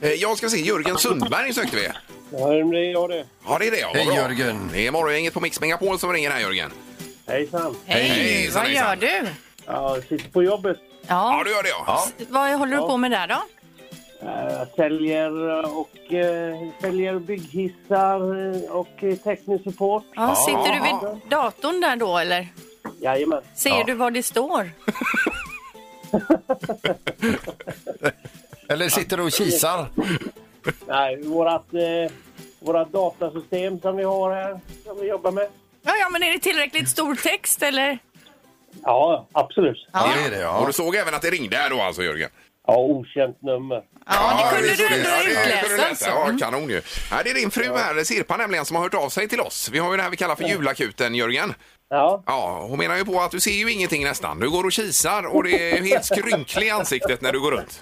Speaker 2: Eh, Jag ska se, Jörgen Sundberg sökte vi.
Speaker 8: Ja, det är jag det.
Speaker 2: Ja, det är det. ja. Vad
Speaker 4: Hej,
Speaker 2: bra.
Speaker 4: Jörgen.
Speaker 2: Det är morgongänget på Mix Megapol som ringer här, Jörgen.
Speaker 8: Hejsan.
Speaker 3: Hej,
Speaker 2: Hejsan,
Speaker 3: vad gör
Speaker 2: hejsan.
Speaker 3: du?
Speaker 8: Ja, jag sitter på jobbet.
Speaker 2: Ja,
Speaker 3: Ja.
Speaker 2: du gör det ja.
Speaker 3: Vad håller du på med där då?
Speaker 8: Jag Eh, säljer och eh, säljer bygghissar eh, och eh, teknisk support.
Speaker 3: Ja, sitter du vid datorn där då eller?
Speaker 8: Jajamän.
Speaker 3: Ser du vad det står?
Speaker 4: Eller sitter du och kisar?
Speaker 8: Nej, vårat, eh, vårat datasystem som vi har här, som vi jobbar med.
Speaker 3: Ja, ja, men är det tillräckligt stor text eller?
Speaker 8: Ja, absolut.
Speaker 4: Ja, det är det.
Speaker 2: Och
Speaker 4: Ja.
Speaker 2: du såg även att det ringde här då alltså, Jörgen.
Speaker 8: Ja, okänt nummer.
Speaker 3: Ja, det kunde
Speaker 2: visst,
Speaker 3: du
Speaker 2: visst.
Speaker 3: ändå
Speaker 2: Ja, det kunde du
Speaker 3: utläsa.
Speaker 2: läsa.
Speaker 3: alltså.
Speaker 2: Ja, kanon ju. Nej, det är din fru här, Sirpa nämligen, som har hört av sig till oss. Vi har ju det här vi kallar för julakuten, Jörgen.
Speaker 8: Ja,
Speaker 2: Ja, hon menar ju på att du ser ju ingenting nästan. Du går och kisar och det är ju helt skrynklig i ansiktet när du går runt.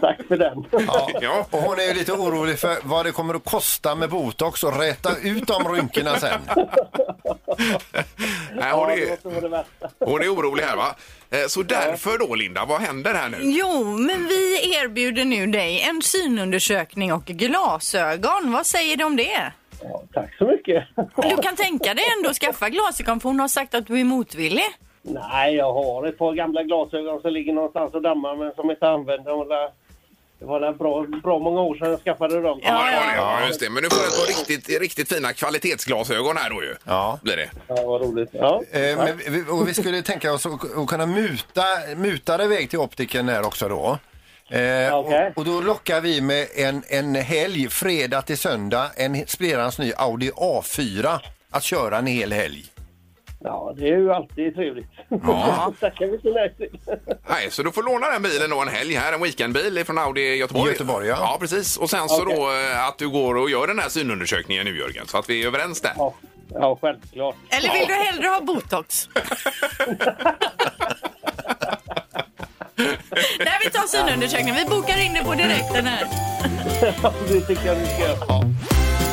Speaker 8: tack för den.
Speaker 2: Ja,
Speaker 4: Och hon är ju lite orolig för vad det kommer att kosta med botox och räta ut de rynkorna sen.
Speaker 2: Nej,
Speaker 8: Ja,
Speaker 2: hon,
Speaker 8: det
Speaker 2: är,
Speaker 8: låter som det värsta.
Speaker 2: hon är orolig här va? Eh, Så därför då Linda, vad händer här nu?
Speaker 3: Jo, men vi erbjuder nu dig en synundersökning och glasögon. Vad säger du om det?
Speaker 8: Ja, tack så mycket.
Speaker 3: Du kan tänka dig ändå att skaffa glasögon för hon har sagt att du är motvillig.
Speaker 8: Nej, jag har ett par gamla glasögon som ligger någonstans och dammar men som inte använder. De där- Det var där bra, bra många år sedan jag skaffade dem.
Speaker 3: Ja, ja.
Speaker 2: Ja, just det. Men du får ett par riktigt, riktigt fina kvalitetsglasögon här då ju.
Speaker 4: Ja.
Speaker 2: Blir det.
Speaker 8: Ja, vad roligt. Ja.
Speaker 4: Eh, Men vi, och vi skulle tänka oss att att kunna muta, muta dig iväg till optiken där också då. Eh,
Speaker 8: Okej.
Speaker 4: och, och då lockar vi med en, en helg, fredag till söndag, en splittrans ny Audi A4 att köra en hel helg.
Speaker 8: ja, det är ju alltid trevligt. Ja. Tackar vi så nej till.
Speaker 2: Nej, så du får låna den bilen då en helg här, en weekendbil från Audi Göteborg.
Speaker 4: Göteborg, ja.
Speaker 2: Ja, precis. Och sen så
Speaker 8: Okej.
Speaker 2: då eh, att du går och gör den här synundersökningen nu Jörgen, så att vi är överens där.
Speaker 8: Ja, ja självklart.
Speaker 3: Eller vill du hellre ha botox? Nej, vi tar synundersökningen. Vi bokar in det på direkten här.
Speaker 8: Det tycker jag du ska göra.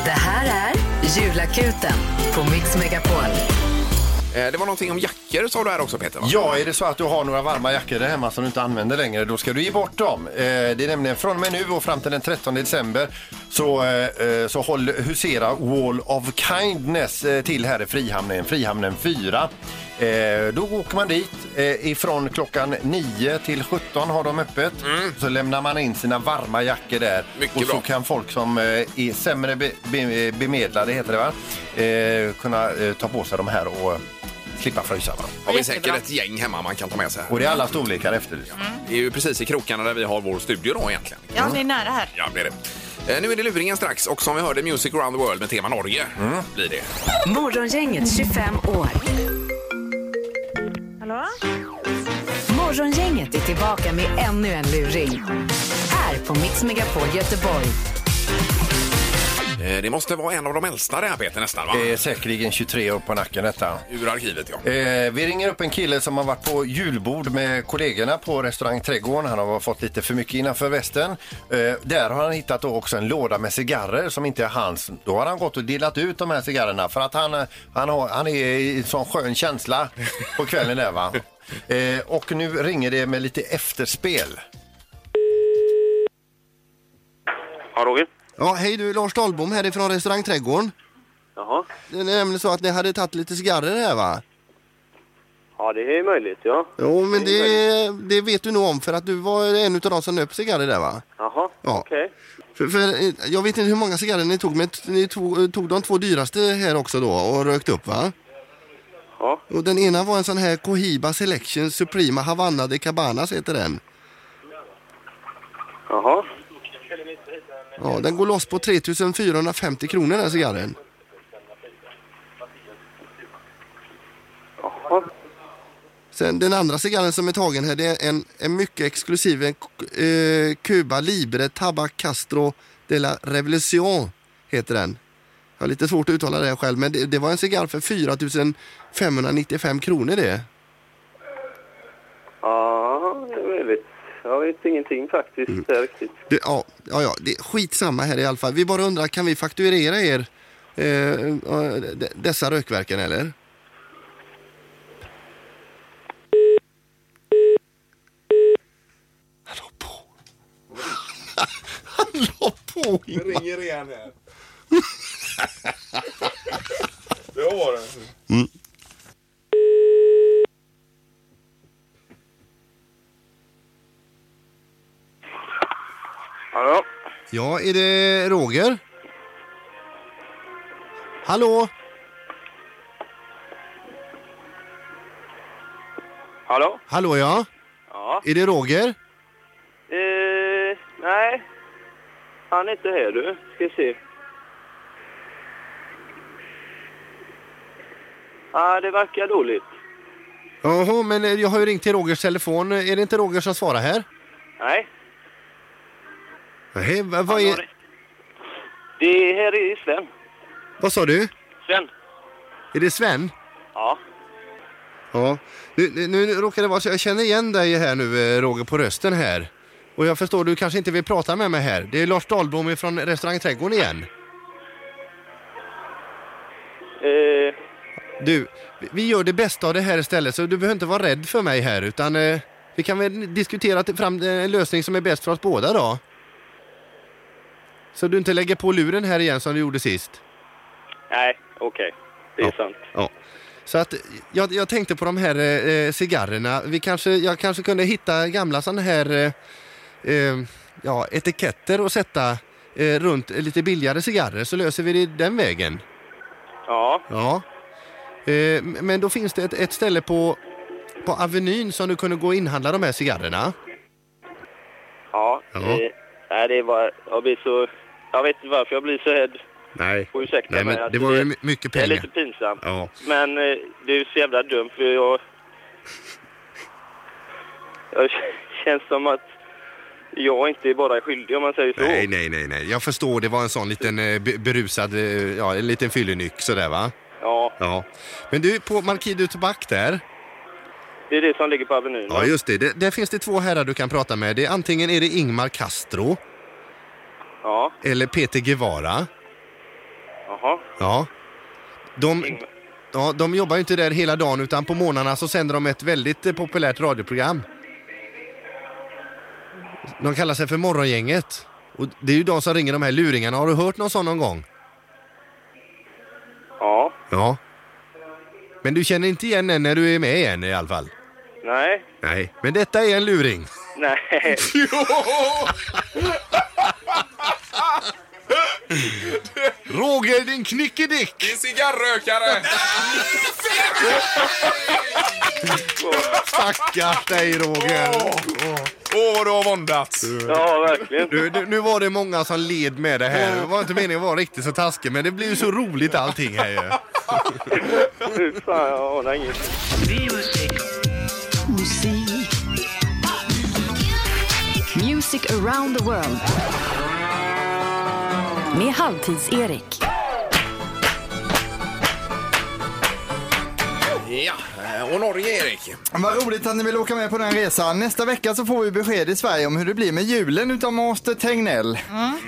Speaker 1: Det här är Julakuten på Mix Megapol.
Speaker 2: Eh, Det var någonting om jackor sa du här också Peter va?
Speaker 4: Ja, är det så att du har några varma jackor där hemma som du inte använder längre, då ska du ge bort dem. Eh, det är nämligen från och med nu och fram till den 13 december så, eh, eh, så håll, husera Wall of Kindness eh, till här i Frihamnen, Frihamnen 4. Eh, då åker man dit. Eh, ifrån klockan 9 till 17 har de öppet. Så lämnar man in sina varma jackor där.
Speaker 2: Mm. Mycket
Speaker 4: och så
Speaker 2: bra.
Speaker 4: kan folk som eh, är sämre be, be, bemedlade, heter det va? Eh, kunna eh, ta på sig de här och eh, slippa frysa. Va?
Speaker 2: Har vi säkert ett gäng hemma man kan ta med sig.
Speaker 4: Och det är alla storlekar efter.
Speaker 2: Det är ju precis i krokarna där vi har vår studio då egentligen.
Speaker 3: Ja, det är nära här.
Speaker 2: Ja, det är det. Eh, Nu är det luringen strax och som vi hörde Music around the world med tema Norge.
Speaker 5: Mm.
Speaker 2: Blir det.
Speaker 1: Morgongänget 25 år.
Speaker 6: Hallå?
Speaker 1: Morgongänget är tillbaka med ännu en luring. Här på Mix Megapol Göteborg.
Speaker 2: Eh, Det måste vara en av de äldsta det här Peter nästan va?
Speaker 4: Eh, säkerligen 23 år på nacken detta.
Speaker 2: Ur arkivet ja.
Speaker 4: Eh, vi ringer upp en kille som har varit på julbord med kollegorna på restaurang Trädgården. Han har fått lite för mycket innanför västen. Eh, där har han hittat då också en låda med cigarrer som inte är hans. Då har han gått och delat ut de här cigarrerna för att han, eh, han, har, han är i en sån skön känsla på kvällen där va. Eh, och nu ringer det med lite efterspel.
Speaker 11: Ja, Roger.
Speaker 12: Ja, hej du, Lars Dahlbom härifrån restaurang Trädgården.
Speaker 11: Jaha.
Speaker 12: Det är nämligen så att ni hade tagit lite cigarrer här va?
Speaker 11: Ja, det är möjligt, ja.
Speaker 12: Jo, men
Speaker 11: Det är
Speaker 12: det, det vet du nog om för att du var en av de som nöp cigarrer där va?
Speaker 11: Jaha,
Speaker 12: Ja.
Speaker 11: okej.
Speaker 12: För, för, eh, jag vet inte hur många cigarrer ni tog, men t- ni tog, tog de två dyraste här också då och rökt upp va?
Speaker 11: Ja.
Speaker 12: Och den ena var en sån här Cohiba Selection Suprema Havana de Cabanas heter den.
Speaker 11: Jaha.
Speaker 12: Ja, den går loss på 3450 kronor den här cigarren. Sen den andra cigarren som är tagen här, det är en, en mycket exklusiv en, eh, Cuba Libre Tabac Castro de la Revolution heter den. Jag har lite svårt att uttala det här själv, men det, det var en cigarr för 4595 kronor det.
Speaker 11: Ja, det är möjligt. Jag vet ingenting faktiskt där riktigt.
Speaker 12: Det, ja, ja, ja, det är skitsamma här i alla fall. Vi bara undrar, kan vi fakturera er eh, eh, d- dessa rökverken eller? Han la på
Speaker 2: Det ringer igen här. det var det.
Speaker 12: Mm.
Speaker 11: Hallå?
Speaker 12: Ja, är det Roger? Hallå?
Speaker 11: Hallå?
Speaker 12: Hallå ja?
Speaker 11: Ja.
Speaker 12: Är det Roger?
Speaker 11: Eh, nej. Han är inte här du. Ska se. Ja, det verkar dåligt.
Speaker 12: Jaha, men eh, jag har ju ringt till Rogers telefon. Är det inte Roger som svarar här?
Speaker 11: Nej.
Speaker 12: Nej, vad, vad, är,
Speaker 11: Det är här i Sven.
Speaker 12: vad sa du?
Speaker 11: Sven?
Speaker 12: Är det Sven?
Speaker 11: Ja.
Speaker 12: Ja, nu, nu, nu råkar det vara så jag känner igen dig här nu eh, Roger på rösten här. Och jag förstår du kanske inte vill prata med mig här. Det är Lars Dahlbom från restaurang Trädgården igen.
Speaker 11: Eh,
Speaker 12: Du, vi- vi gör det bästa av det här istället så du behöver inte vara rädd för mig här utan eh, vi kan väl diskutera till- fram eh, en lösning som är bäst för oss båda då. Så du inte lägger på luren här igen som du gjorde sist.
Speaker 11: nej, okej. Det är sant.
Speaker 12: Ja. Så att jag, jag tänkte på de här eh, eh, cigarrerna. Vi kanske, jag kanske kunde hitta gamla sådana här eh, eh, ja, etiketter och sätta eh, runt lite billigare cigarrer så löser vi det den vägen.
Speaker 11: Ja.
Speaker 12: Ja. Eh, m- men då finns det ett, ett ställe på, på Avenyn som du kunde gå och inhandla de här cigarrerna.
Speaker 11: Ja.
Speaker 12: Ja.
Speaker 11: Eh, nej, det var... Jag blir så... Jag vet inte varför jag blir så rädd.
Speaker 12: Nej.
Speaker 11: Får ursäkta
Speaker 12: Nej,
Speaker 11: mig.
Speaker 12: men
Speaker 11: att
Speaker 12: det var ju my- mycket
Speaker 11: Det är
Speaker 12: pengar.
Speaker 11: lite pinsamt.
Speaker 12: Ja.
Speaker 11: Men eh, det är ju så jävla dumt för jag... Jag känns som att jag inte bara är skyldig om man säger så.
Speaker 12: Nej, nej, nej, nej. Jag förstår, det var en sån liten eh, be- berusad, eh, ja, en liten fyllenyck sådär va?
Speaker 11: Ja,
Speaker 12: Ja. Men du, på Marquis du Tobak där.
Speaker 11: det är det som ligger på Avenyn.
Speaker 12: Ja, just det. det. Där finns det två herrar du kan prata med. Det är, antingen är det Ingmar Castro
Speaker 11: Ja,
Speaker 12: eller Peter Guevara.
Speaker 11: jaha.
Speaker 12: Ja. De, ja, de jobbar ju inte där hela dagen utan på morgnarna så sänder de ett väldigt eh, populärt radioprogram. De kallar sig för Morgongänget. Och det är ju de som ringer de här luringarna. Har du hört någon sån någon gång?
Speaker 11: Ja.
Speaker 12: Ja.
Speaker 13: Men du känner inte igen den när du är med igen i alla fall?
Speaker 11: Nej.
Speaker 13: Nej. Men detta är en luring.
Speaker 11: Nej.
Speaker 13: Roger din knickedick!
Speaker 2: Det är cigarrökare!
Speaker 13: Stackars dig Roger!
Speaker 2: Åh, vad du har våndats!
Speaker 11: Ja, verkligen.
Speaker 13: Du, du, nu var det många som led med det här. Det var inte meningen att vara riktigt så taskig, men det blev ju så roligt allting här ju.
Speaker 11: Fy fan, jag anar inget.
Speaker 1: Musik. Music around the world. Med Halvtids-Erik.
Speaker 2: Ja, eh, och Norge, Erik.
Speaker 5: Vad roligt att ni vill åka med på den resan. Nästa vecka så får vi besked i Sverige om hur det blir med julen utav Master Tegnell.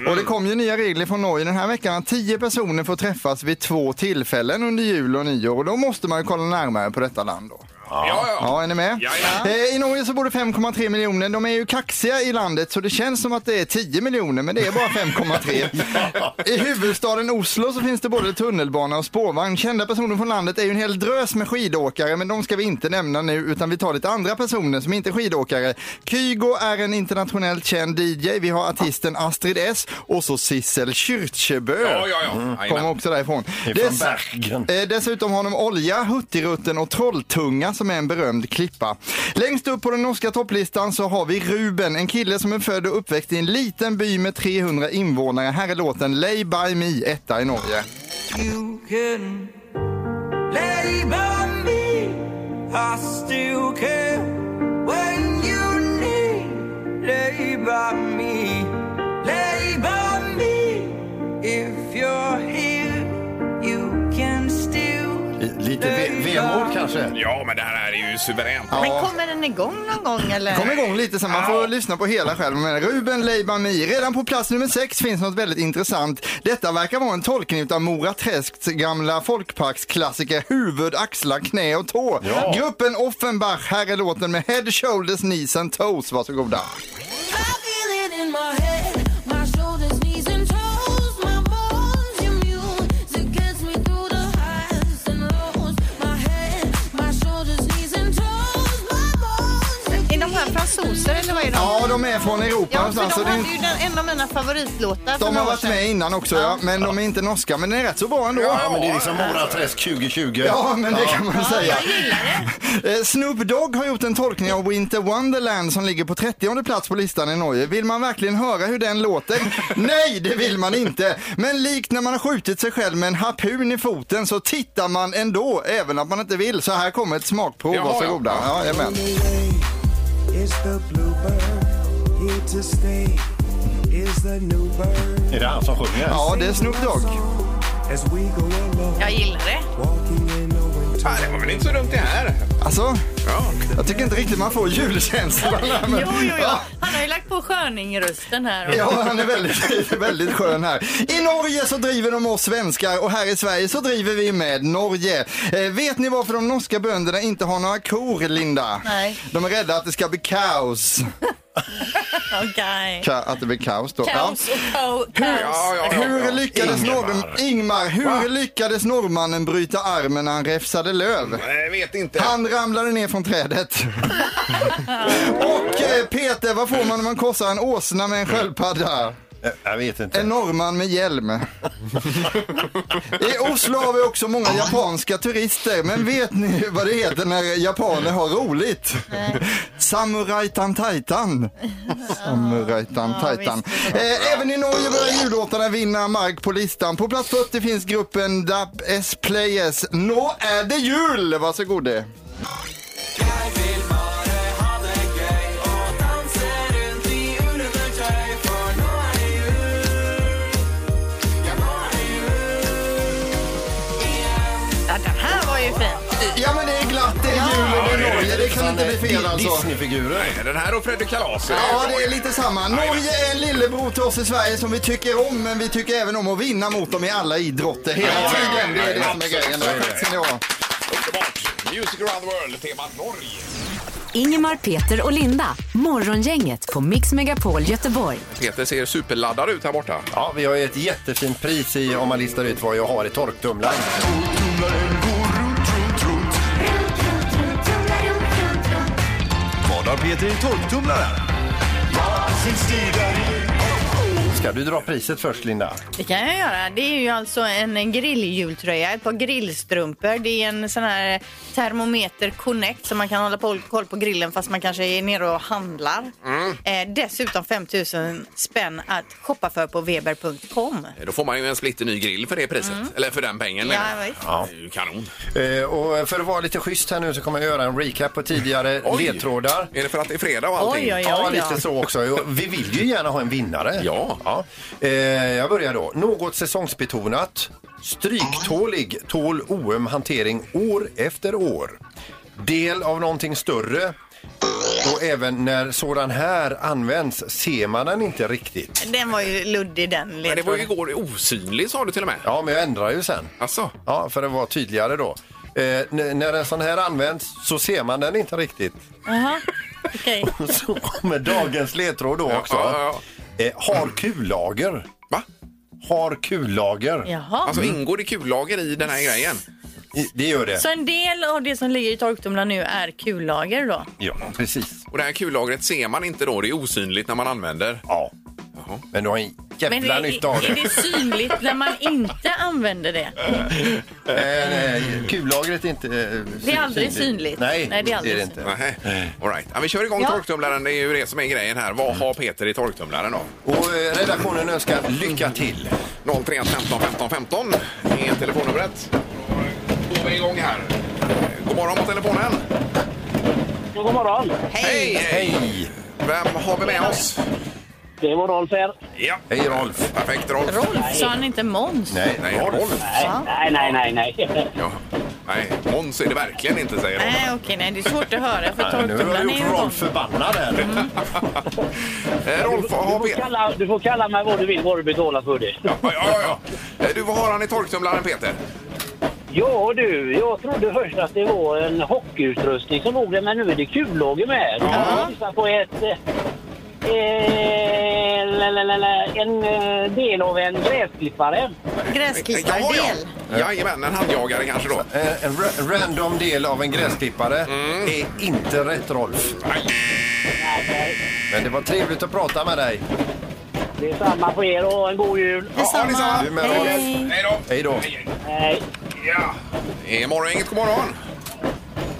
Speaker 5: Och det kom ju nya regler från Norge den här veckan att 10 personer får träffas vid två tillfällen under jul och nyår. Och då måste man ju kolla närmare på detta land då.
Speaker 2: Ja, ja.
Speaker 5: är ni med? Eh, I Norge så bor det 5,3 miljoner. De är ju kaxiga i landet så det känns som att det är 10 miljoner men det är bara 5,3. I huvudstaden Oslo så finns det både tunnelbana och spårvagn. Kända personer från landet är ju en hel drös med skidåkare men de ska vi inte nämna nu utan vi tar lite andra personer som inte är skidåkare. Kygo är en internationellt känd DJ. Vi har artisten Astrid S och så Sissel Kyrkjebø.
Speaker 2: Ja, ja, ja.
Speaker 5: Mm.
Speaker 2: Jajamän.
Speaker 5: Kom också därifrån.
Speaker 2: Ifrån Bergen.
Speaker 5: Eh, Dessutom har de Olja, Hurtigruten och Trolltunga som är en berömd klippa. Längst upp på den norska topplistan så har vi Ruben, en kille som är född och uppväxt i en liten by med 300 invånare. Här är låten Lay by me, etta i Norge.
Speaker 7: You can lay by me. I still care when you need. Lay by me. Lay by me. If you're here, you can still.
Speaker 4: Lite ve- vemod kanske?
Speaker 2: Ja, men det här är ju suveränt.
Speaker 3: Men kommer den igång någon gång eller?
Speaker 5: Kom igång lite sen, man får lyssna på hela själv. Men Ruben Leibami, redan på plats nummer sex finns något väldigt intressant. Detta verkar vara en tolkning av Mora Träsks gamla folkparksklassiker Huvud, axlar, knä och tå.
Speaker 7: Ja.
Speaker 5: Gruppen Offenbach, här är låten med Head, Shoulders, Knees and Toes. Varsågoda.
Speaker 3: Är de här fransoser eller vad är de?
Speaker 5: Ja, de är från Europa
Speaker 3: Ja, för
Speaker 5: någonstans, så
Speaker 3: de
Speaker 5: det är
Speaker 3: hade ju den, en av mina favoritlåtar för
Speaker 5: De har
Speaker 3: några år
Speaker 5: varit
Speaker 3: sedan.
Speaker 5: med innan också, ja. men de är inte norska. Men den är rätt så bra ändå.
Speaker 4: Ja, men det är liksom Mora Träsk 2020.
Speaker 5: Ja, men det kan man
Speaker 4: Ja.
Speaker 5: säga. Eh, Snoop Dogg har gjort en tolkning av Winter Wonderland som ligger på 30 plats på listan i Norge. Vill man verkligen höra hur den låter? Nej, det vill man inte. Men likt när man har skjutit sig själv med en harpun i foten så tittar man ändå, även om man inte vill. Så här kommer ett smakprov.
Speaker 7: Jaha, ja.
Speaker 5: Varsågoda. Ja, jajamän.
Speaker 7: Is the bluebird here to stay? Is the new bird?
Speaker 4: Är det han som sjunger?
Speaker 5: Ja, det är Snoop Dogg.
Speaker 7: As we go along.
Speaker 3: Jag gillar det.
Speaker 2: Ja, det var väl inte så dumt det här?
Speaker 5: Alltså, jag tycker inte riktigt man får julkänslan. här, men-
Speaker 3: Jo, jo, jo. Han har ju lagt på Sköning-rösten här.
Speaker 5: Ja, han är väldigt, väldigt skön här. I Norge så driver de oss svenskar och här i Sverige så driver vi med Norge. Eh, vet ni varför de norska bönderna inte har några kor, Linda?
Speaker 3: Nej.
Speaker 5: De är rädda att det ska bli kaos.
Speaker 3: Okej.
Speaker 5: Ka- att det blir kaos då.
Speaker 3: Kaos
Speaker 5: Ja.
Speaker 3: och kao-
Speaker 5: Hur,
Speaker 3: kaos.
Speaker 5: hur lyckades
Speaker 2: Ingmar.
Speaker 5: norr- Ingmar, hur
Speaker 2: Va?
Speaker 5: lyckades norrmannen bryta armen när han räfsade löv?
Speaker 2: Jag vet inte.
Speaker 5: Han ramlade ner från trädet. och eh, Peter, vad får man när man korsar en åsna med en sköldpadda?
Speaker 4: Jag vet inte.
Speaker 5: En norrman med hjälm. I Oslo har vi också många japanska turister, men vet ni vad det heter när japaner har roligt? Samurajtan-tajtan. Samurajtan-tajtan. Eh, även i Norge börjar jullåtarna vinna mark på listan. På plats 40 finns gruppen Dab S Players. Nå är det jul! Varsågod.
Speaker 3: Ja, den här var ju fin.
Speaker 5: Ja, men det är glatt, det är jul och det är Norge. Det kan inte bli fel alltså.
Speaker 2: Nej, den här och Fredde Kalas.
Speaker 5: Ja, det är lite samma.
Speaker 2: Nej,
Speaker 5: Norge är en lillebror till oss i Sverige som vi tycker om, men vi tycker även om att vinna mot dem i alla idrotter hela
Speaker 2: Ja, ja,
Speaker 5: tiden.
Speaker 2: ja,
Speaker 5: Det är det
Speaker 2: ja,
Speaker 5: som är
Speaker 2: absolut.
Speaker 5: grejen.
Speaker 2: Så är det.
Speaker 5: Tack ska ni ha.
Speaker 2: Underbart! Music around the world, tema Norge.
Speaker 1: Ingemar, Peter och Linda. Morgongänget på Mix Megapol Göteborg.
Speaker 2: Peter ser superladdad ut här borta.
Speaker 4: Ja, vi har ju ett jättefint pris i om man listar ut vad jag har i torktumlaren.
Speaker 14: Har Peter en torktumlare?
Speaker 4: Ska du dra priset först, Linda?
Speaker 3: Det kan jag göra. Det är ju alltså en grilljultröja, ett par grillstrumpor. Det är en sån här termometer connect som man kan hålla på, koll på grillen fast man kanske är nere och handlar.
Speaker 2: Mm.
Speaker 3: Eh, dessutom 5 000 spänn att shoppa för på weber.com.
Speaker 2: Eh, Då får man ju en splitterny grill för det priset. Eller för den pengen.
Speaker 3: Ja,
Speaker 2: menar jag.
Speaker 3: visst.
Speaker 2: ja. Det är ju kanon.
Speaker 4: Eh, och för att vara lite schysst här nu så kommer jag göra en recap på tidigare
Speaker 2: Oj.
Speaker 4: ledtrådar.
Speaker 2: Är det för att det är fredag och allting?
Speaker 4: Oj, oj, oj, ja, lite så också. Jo, Vi vill ju gärna ha en vinnare. Ja. Eh, jag börjar då. Något säsongsbetonat. Stryktålig, tål oöm hantering år efter år. Del av någonting större. Och även när sådan här används ser man den inte riktigt.
Speaker 3: Den var ju luddig den
Speaker 2: Men det var ju
Speaker 3: ledtråden.
Speaker 2: igår osynlig sa du till och med. Alltså,
Speaker 4: Ja, men jag ändrar ju sen. Asså? Ja, för att vara tydligare då. Eh, n- när en sån här används så ser man den inte riktigt.
Speaker 3: Jaha, okej.
Speaker 2: Alltså-
Speaker 4: Så kommer dagens ledtråd då också.
Speaker 2: ja,
Speaker 4: Eh, har kullager.
Speaker 2: Va?
Speaker 4: Har kullager.
Speaker 3: Jaha.
Speaker 2: Alltså
Speaker 4: Mm.
Speaker 2: ingår det kullager i den här grejen?
Speaker 4: I- Det gör det.
Speaker 3: Så en del av det som ligger i torktumlaren nu är kullager då?
Speaker 4: Ja, precis.
Speaker 2: Och det här kullagret ser man inte då, det är osynligt när man använder?
Speaker 4: Ja. Men du har en
Speaker 3: Men är, är det synligt när man inte använder det?
Speaker 4: Eh, nej, kullagret är inte eh,
Speaker 3: Det är aldrig synligt.
Speaker 4: Nej,
Speaker 3: Nej, det är aldrig
Speaker 4: inte.
Speaker 2: Nej.
Speaker 4: Eh.
Speaker 2: All right. ja, vi kör igång
Speaker 3: Ja.
Speaker 2: torktumlaren, det är ju det som är grejen här. Vad
Speaker 4: Mm.
Speaker 2: har Peter i torktumlaren då?
Speaker 4: Och eh, redaktionen önskar lycka till.
Speaker 2: 031 15 15 15 är telefonnumret. Då går vi igång här. God morgon på telefonen.
Speaker 11: God morgon.
Speaker 2: Hej! Hej! Vem har vi med oss?
Speaker 11: Det var Rolf här.
Speaker 2: Ja.
Speaker 4: Hej Rolf!
Speaker 2: Perfekt Rolf.
Speaker 3: Rolf, sa han inte Måns?
Speaker 2: Nej, nej, Rolf.
Speaker 11: Nej, nej, nej, nej.
Speaker 2: Ja. Nej, Måns är det verkligen inte säger Rolf.
Speaker 3: Nej, okej, nej, det är svårt att höra för
Speaker 2: Nej, nu har jag
Speaker 3: torktumlaren är
Speaker 2: gjort
Speaker 3: ju igång.
Speaker 2: Rolf
Speaker 4: förbannad här.
Speaker 2: Eh, Rolf, vad har
Speaker 11: Du får,
Speaker 2: Peter?
Speaker 11: kalla, du får kalla mig vad du vill, vad du betalar för det.
Speaker 2: Ja, ja, ja. Eh, Du, vad har han i torktumlaren Peter?
Speaker 11: Ja du, jag trodde först att det var en hockeyutrustning som låg där, men nu är det kullager med. Då kan man gissa på ett... eh, Eh, la, la, la, la, en eh, del av en gräsklippare.
Speaker 3: Gräsklippardel.
Speaker 11: Ja,
Speaker 2: Jajamän, en handjagare kanske då.
Speaker 4: Eh, En ra- random del av en gräsklippare är inte rätt Rolf. Men det var trevligt att prata med dig.
Speaker 11: Det är samma på er och en god jul.
Speaker 2: Detsamma. detsamma.
Speaker 4: Du med Rolf.
Speaker 2: Hej då!
Speaker 4: Hej då.
Speaker 11: Hej.
Speaker 2: Ja. Eh, morgon, inget god morgon.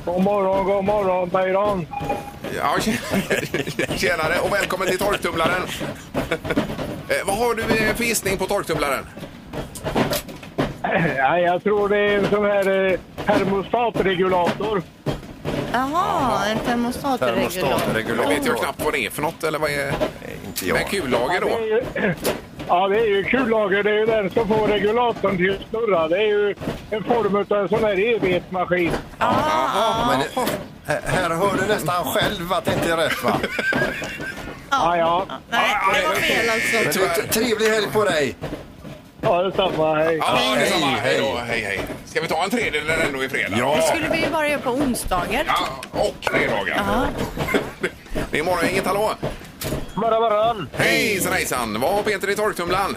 Speaker 15: God morgon, god morgon, Bayram.
Speaker 2: Ja, tjena- tjenare och välkommen till torktumlaren. Eh, vad har du eh, för gissning på torktumlaren?
Speaker 15: Ja, jag tror det är en sån här eh, termostatregulator.
Speaker 3: Jaha, en termostatregulator.
Speaker 2: Nu vet jag knappt vad det är för något eller vad är... Eh, Inte jag. Men kullager
Speaker 15: Ja, det
Speaker 2: då?
Speaker 15: är ju, ja, det är ju kullager. Det är ju den som får regulatorn till att snurra. Det är ju en form av en sån här evighetsmaskin.
Speaker 4: Men, eh, här- här hör du nästan själv att det inte är rätt va?
Speaker 15: Ja, ja.
Speaker 3: Nej, det var fel
Speaker 4: Men
Speaker 3: alltså.
Speaker 4: du, t- Trevlig helg på dig!
Speaker 15: Ja, detsamma. Hej.
Speaker 2: Ja, detsamma. Hej, då. hej, hej. Ska vi ta en tredjedel när det ändå är fredag?
Speaker 3: Det skulle vi ju bara göra på onsdagar.
Speaker 2: Och fredagar. det är morgon, inget hallå.
Speaker 11: Morgon, morgon.
Speaker 2: Hejsan, hejsan. Vad har Peter i torktumlaren?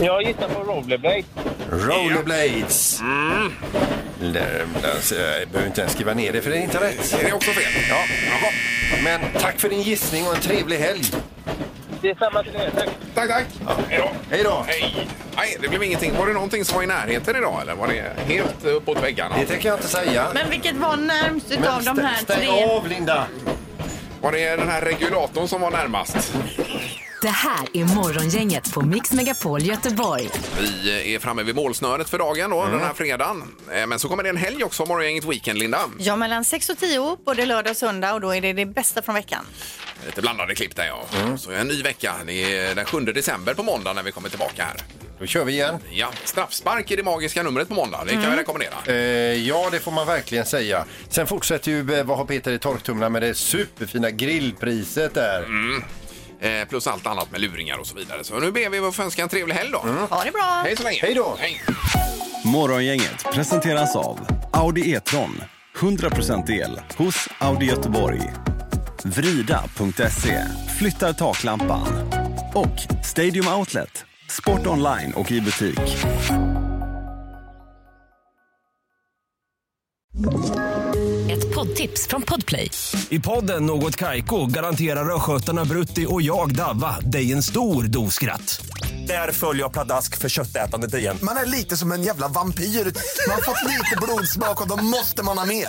Speaker 11: Jag gissar på rollerblade.
Speaker 4: Rollerblades. Mm. Jag behöver inte ens skriva ner det för det är inte rätt.
Speaker 2: Är det också fel?
Speaker 4: Ja. Men tack för din gissning och en trevlig helg.
Speaker 11: Det är samma till er. Tack.
Speaker 2: Tack, tack. Hej då.
Speaker 4: Hej då.
Speaker 2: Hej. Nej, det blev ingenting. Var det någonting som var i närheten idag eller var det helt uppåt väggarna?
Speaker 4: Det tänker jag inte säga.
Speaker 3: Men vilket var närmst
Speaker 4: Men
Speaker 3: utav de
Speaker 4: stä-
Speaker 3: här
Speaker 4: stäng
Speaker 3: tre?
Speaker 4: av Linda!
Speaker 2: Var det den här regulatorn som var närmast?
Speaker 1: Det här är Morgongänget på Mix Megapol Göteborg.
Speaker 2: Vi är framme vid målsnöret för dagen då, den här fredagen. Eh, Men så kommer det en helg också, morgongänget Weekend, Linda.
Speaker 3: Ja, mellan 6 och 10 både lördag och söndag och då är det det bästa från veckan.
Speaker 2: Lite blandade klipp där ja.
Speaker 4: Mm.
Speaker 2: Så en ny vecka. Det är den 7 december på måndag när vi kommer tillbaka här.
Speaker 4: Då kör vi igen.
Speaker 2: Ja, straffspark är det magiska numret på måndag. Det kan jag rekommendera.
Speaker 4: Eh, ja, det får man verkligen säga. Sen fortsätter ju eh, Vad har Peter i torktumlaren med det superfina grillpriset där.
Speaker 2: Mm. Eh, plus allt annat med luringar och så vidare. Så nu ber vi att få önska en trevlig helg då.
Speaker 3: Ha det bra!
Speaker 2: Hej så länge!
Speaker 4: Mm. Hej då!
Speaker 2: Hej.
Speaker 14: Morgongänget presenteras av Audi E-tron. 100% el hos Audi Göteborg. Vrida.se. Flyttar taklampan. Och Stadium Outlet. Sport online och i butik.
Speaker 1: Ett poddtips
Speaker 16: tips från Podplay. I podden Något Kaiko garanterar östgötarna Brutti och jag, Davva, dig en stor dos skratt. Där följer jag pladask för köttätandet igen.
Speaker 13: Man är lite som en jävla vampyr. Man har fått lite blodsmak och då måste man ha mer.